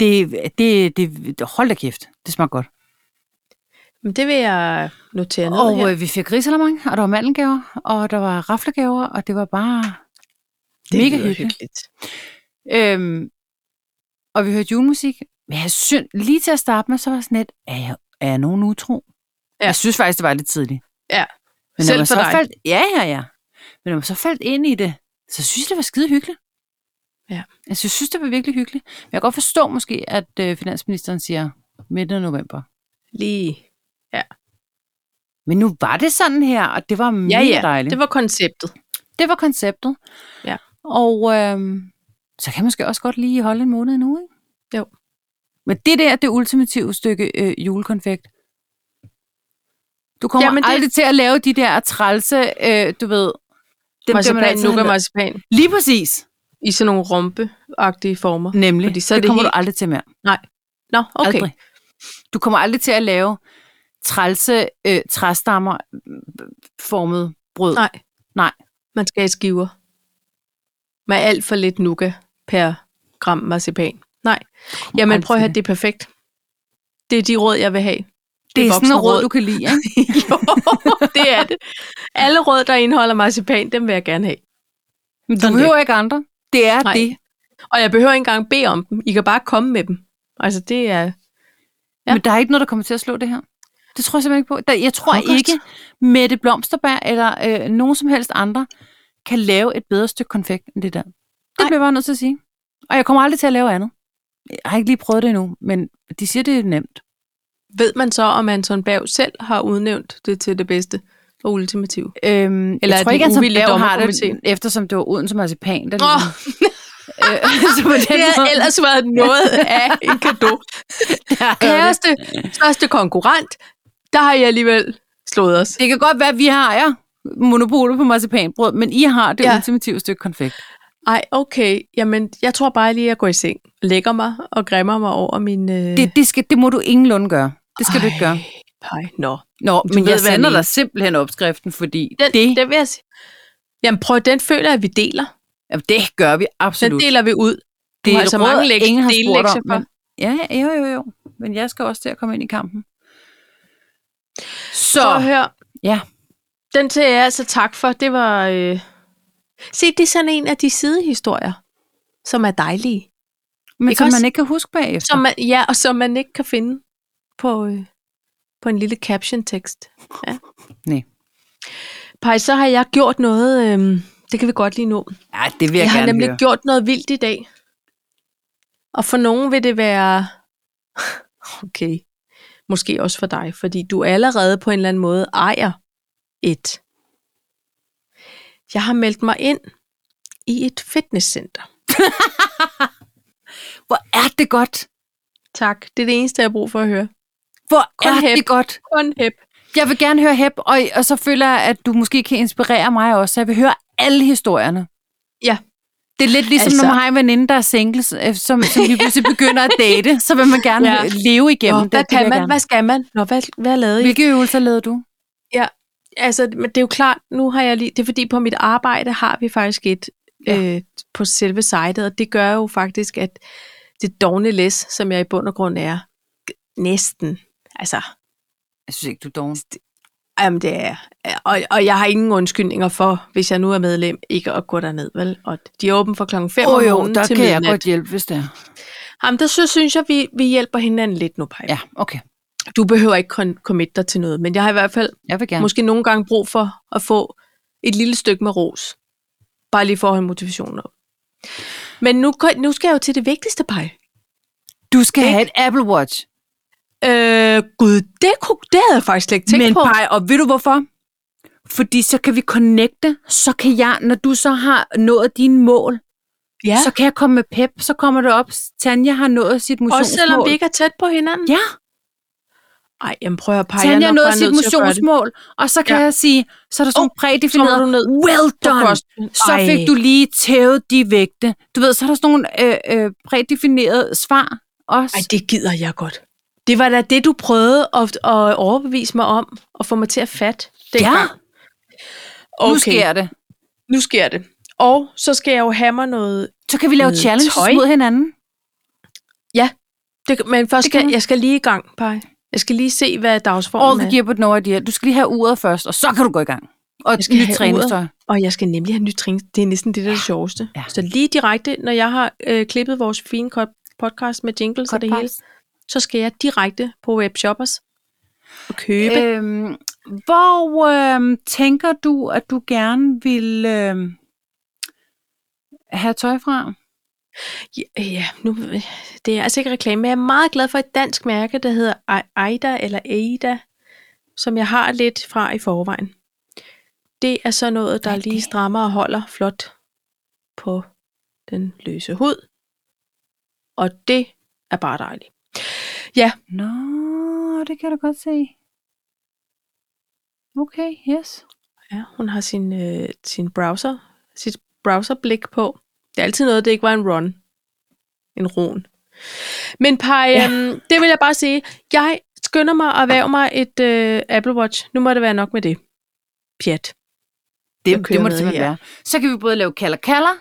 Det, det, det, det- hold da kæft, det smager godt. Men det vil jeg notere ned her. Og øh, vi fik risalamang, og der var mandelgaver, og der var raflegaver, og det var bare det mega lyder hyggeligt. Øhm, og vi hørte julemusik. Men jeg synes, lige til at starte med, så var jeg sådan lidt, er jeg, er jeg nogen utro? Ja. Ja. Jeg synes faktisk, det var lidt tidligt. Ja. Men når Selv man for så dig. Faldt, ja, ja, ja. Men når man så faldt ind i det, så synes jeg, det var skide hyggeligt. Ja. Altså, jeg synes, det var virkelig hyggeligt. Men jeg kan godt forstå måske, at øh, finansministeren siger midt af november. Lige. Men nu var det sådan her, og det var mega Ja, ja. dejligt. Det var konceptet. Det var konceptet. Ja. Og øhm, så kan man måske også godt lige holde en måned nu, ikke? Jo. Men det der, det ultimative stykke øh, julekonfekt. Du kommer Jamen, Jamen, det- aldrig til at lave de der trælse, øh, du ved... Dem bliver man Marcipan, altid nu kan med. marcipan Lige præcis, i sådan nogle rompeagtige former. nemlig. Fordi så er det, det kommer helt- du aldrig til mere. Nå, okay. Aldrig. Du kommer aldrig til at lave trælse øh, træstammer øh, formet brød. Nej. Nej. Man skal i skiver. Med alt for lidt nuka per gram marcipan. Nej. Jamen aldrig prøv at til høre, det er perfekt. Det er de råd, jeg vil have. det er sådan noget råd, voksenråd. du kan lide, ikke? [LAUGHS] jo, det er det. Alle råd, der indeholder marcipan, dem vil jeg gerne have. Men du Sådan behøver ikke andre. Det er Nej. det. Og jeg behøver ikke engang bede om dem. I kan bare komme med dem. Altså, det er... Ja. Men der er ikke noget, der kommer til at slå det her. Det tror jeg simpelthen ikke på. Der, jeg tror Frokost. Frokost. ikke, Mette Blomsterberg eller øh, nogen som helst andre kan lave et bedre stykke konfekt end det der. Det Nej. bliver jeg bare nødt til at sige. Og jeg kommer aldrig til at lave andet. Jeg har ikke lige prøvet det endnu, men de siger, det er nemt. Ved man så, om Anton Bav selv har udnævnt det til det bedste og ultimative? Øhm, Eller Eller jeg er tror det ikke, at uvildig Bav har dommerkomité? det, eftersom det var Odense Marcipan, der Åh, ligesom... Øh, [LAUGHS] så på den det har måde, ellers været noget af en [LAUGHS] gave. Kæreste, største konkurrent, der har I alligevel slået os. det kan godt være, at vi har ja, monopolet på marcipanbrød, men I har det Ja. ja. ultimative stykke konfekt. Ej, okay. Jamen, jeg tror bare lige, at jeg går i seng. Lægger mig og græmmer mig over min... Øh... Det, det, skal, det må du ingenlunde gøre. Det skal Ej. du ikke gøre. Ej, nå. Nå, Du men ved, jeg hvad jeg sender mener. dig simpelthen opskriften, fordi Den, det, det, den vil jeg sige. Jamen prøv, den føler jeg, at vi deler. jamen, det gør vi Den absolut. deler vi ud. Du det har altså mange lek- ingen har spurgt dellektier om. for. Men, ja, ja, jo, jo, jo. Men jeg skal også til at komme ind i kampen. Så, Prøv at høre. Ja. Den til jeg altså tak for. Det var... Øh... Se, det er sådan en af de sidehistorier, som er dejlige. men ikke som også- man ikke kan huske bagefter. Som man, ja, og som man ikke kan finde på, øh, på en lille caption-tekst. Ja. Nej. Pej, så har jeg gjort noget... Øh... Det kan vi godt lige nå. ja, det vil jeg, Jeg har gerne nemlig høre. gjort noget vildt i dag. Og for nogen vil det være... [LAUGHS] Okay. Måske også for dig, fordi du allerede på en eller anden måde ejer et. Jeg har meldt mig ind i et fitnesscenter. Hvor er det godt? Tak. Det er det eneste, jeg har brug for at høre. Hvor Kun er hæb. det godt? Kun hep. Jeg vil gerne høre Hep, og, og så føler jeg, at du måske kan inspirere mig også. så Jeg vil høre alle historierne. Ja. Det er lidt ligesom, altså, Altså- når man har en veninde, der er single, som, som lige pludselig begynder at date. Så vil man gerne Ja. ja. leve igennem Nå, det. hvad det vil kan jeg man? gerne. Hvad skal man? Nå, hvad, hvad lavede I? Hvilke øvelser lavede du? Altså, men det er jo klart, nu har jeg lige... Det er fordi, på mit arbejde har vi faktisk et Ja. ja. øh, på selve sitet, og det gør jo faktisk, at det dogne læs, som jeg i bund og grund er, g- næsten, altså, Jeg synes ikke, du er doven. jamen det er, og, og jeg har ingen undskyldninger for, hvis jeg nu er medlem, ikke at gå derned, vel? Og de er åben fra klokken 5 Åh om oh, jo, morgenen der til kan jeg midnat. godt hjælpe, hvis det er. Jamen, der synes, synes jeg, vi, vi hjælper hinanden lidt nu, Paj. Ja. Ja, okay. Du behøver ikke kon- committe dig til noget, men jeg har i hvert fald Jeg vil ja. gerne. måske nogle gange brug for at få et lille stykke med ros. Bare lige for at holde motivationen op. Men nu, kan- nu skal jeg jo til det vigtigste, Paj. Du skal Ikke? have et Apple Watch. Øh, gud, det, kunne, det havde jeg faktisk slet ikke tænkt Men på. Paj, og ved du hvorfor? Fordi så kan vi connecte, så kan jeg, når du så har nået dine mål, ja. så kan jeg komme med pep, så kommer det op, Tanja har nået sit motionsmål. Også selvom vi ikke er tæt på hinanden. Ja, Ej, jamen prøv at pege. Tanja har nået sit motionsmål, og så kan Ja. ja. jeg sige, så er der sådan Åh, oh, så prædefineret, var du nødt- well done, så fik du lige tævet de vægte. Du ved, så er der sådan nogle øh, øh, prædefinerede svar også. Ej, det gider jeg godt. Det var da det, du prøvede at, at overbevise mig om, og få mig til at fatte. ja, dengang. nu sker det. nu sker det. Og så skal jeg jo have mig noget Så kan vi lave Noget challenges tøj. mod hinanden. Det, men først Det kan skal, man. jeg skal lige i gang, Paj. Jeg skal lige se, hvad All dagsformen the er. gear but no idea. Du skal lige have uret først, og så kan du gå i gang. Og Jeg et skal have nyt uret. træningstøj. Og jeg skal nemlig have nyt træning. Det er næsten det, der er det sjoveste. Ja. Ja. Så lige direkte, når jeg har øh, klippet vores fine ko- podcast med jingles og det hele, så skal jeg direkte på webshoppers og købe. Øh, Øhm, hvor øhm, tænker du, at du gerne vil øhm, have tøj fra? ja, ja, nu, det er altså ikke reklame, men jeg er meget glad for et dansk mærke, der hedder A- Aida eller Aida, som jeg har lidt fra i forvejen. Det er så noget, der Hvad er lige det? strammer og holder flot på den løse hud. Og det er bare dejligt. Nå, det kan du godt se. Okay, yes. Ja, hun har sin, øh, sin browser, sit browserblik på. Det er altid noget, det ikke var en run. En ron. Men Paj, ja. Ja. øhm, det vil jeg bare sige. Jeg skynder mig at være mig et øh, Apple Watch. Nu må det være nok med det. Pjat. Jeg Det, kører det må med det simpelthen her. være. Så kan vi både lave kalder kalder,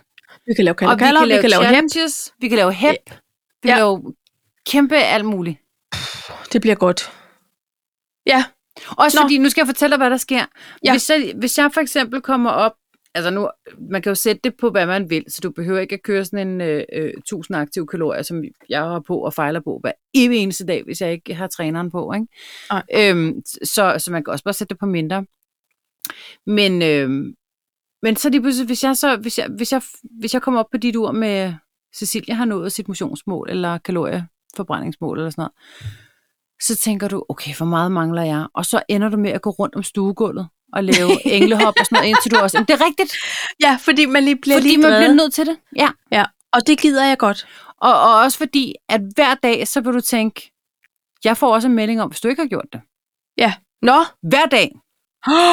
Vi kan lave og vi kalder, kan vi lave, kan lave hjem. challenges, vi kan lave hep, vi Ja. kan lave kæmpe alt muligt. Det bliver godt. Ja, Også Nå. Nå. fordi, nu skal jeg fortælle dig, hvad der sker. Ja. Ja. Hvis, jeg, hvis jeg for eksempel kommer op altså nu, man kan jo sætte det på, hvad man vil, så du behøver ikke at køre sådan en øh, øh, 1000 aktive kalorier, som jeg har på og fejler på hver evig eneste dag, hvis jeg ikke har træneren på. Ikke? Nej. Øhm, så, så man kan også bare sætte det på mindre. Men, øhm, men så lige pludselig, hvis jeg, så, hvis, jeg, hvis, jeg, hvis jeg kommer op på dit ur med, Cecilia har nået sit motionsmål, eller kalorieforbrændingsmål, eller sådan noget, så tænker du, okay, hvor meget mangler jeg? Og så ender du med at gå rundt om stuegulvet og [LAUGHS] lave englehop og sådan noget, indtil du også... Men det er rigtigt, Ja, fordi man lige bliver fordi lige man drevet. bliver nødt til det. Ja. Og det gider jeg godt. Og, og også fordi, at hver dag, så vil du tænke, jeg får også en melding om, hvis du ikke har gjort det. Nå. Hver dag. [GASPS]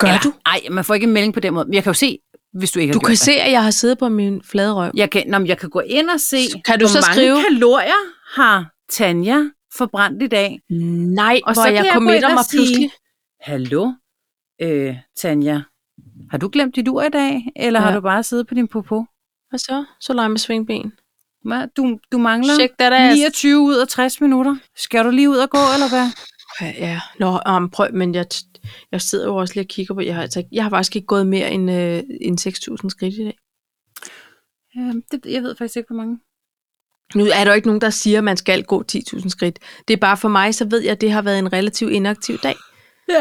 Gør du? Nej, man får ikke en melding på den måde. Men jeg kan jo se, hvis du ikke har Du gjort kan det. se, at jeg har siddet på min flade røv. Jeg kan, nå, men jeg kan gå ind og se, Så kan du hvor så mange skrive- kalorier har Tanja forbrændt i dag. Nej, Og og hvor så jeg kan jeg gå committer ind og mig sige- pludselig. Hallo, øh, Tanja, har du glemt dit ur i dag, eller ja. har Ja. du bare siddet på din popo? Og så? Så leger med svingben. Hva? Du, du mangler Check that ass. 29 ud af 60 minutter. Skal du lige ud og gå, eller hvad? Ja, ja. Nå, um, prøv, men jeg, jeg sidder jo også lige og kigger på, jeg har, altså, jeg har faktisk ikke gået mere end, øh, end 6.000 skridt i dag. Øhm, det, jeg ved faktisk ikke, hvor mange. Nu er der jo ikke nogen, der siger, at man skal gå 10.000 skridt. Det er bare for mig, så ved jeg, at det har været en relativt inaktiv dag. Ja,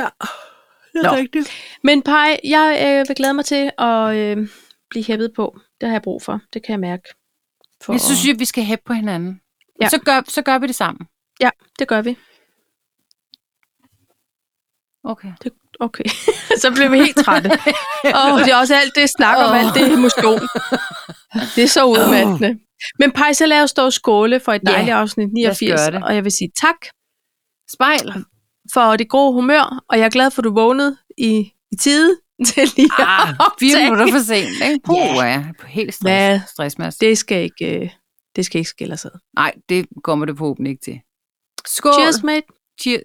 det er rigtigt. Men Paj, jeg øh, vil glæde mig til at øh, blive hæppet på. Det har jeg brug for. Det kan jeg mærke. For, Jeg synes jo, at vi skal hæppe på hinanden. Ja. Ja. Så, gør, så gør vi det sammen. det gør vi. Okay. Okay. [LAUGHS] så blev vi helt trætte. Og det er også alt det snak om, Åh. alt det motion. Det er så udmattende. Men Paj, så lad os dog skåle for et Ja, dejligt afsnit os 89. gøre det. Og jeg vil sige tak Spejl. for det gode humør, og jeg er glad for, at du vågnede i, i tide [LAUGHS] til lige at Ah, [LAUGHS] fire optage. minutter for sent, ikke? Puh, Ja. yeah. ja. På helt stress, Hvad? stressmasse. Det skal ikke, øh, det skal ikke skille os ad. Nej, det kommer det forhåbentlig ikke til. Skål. Cheers, mate. Cheer,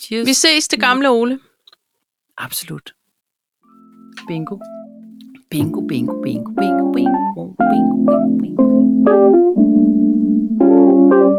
cheers. Vi ses, Mm. det gamle Ole. Absolut. Bingo. Bingo, bingo, bingo, bingo, bingo, bingo, bingo, bingo.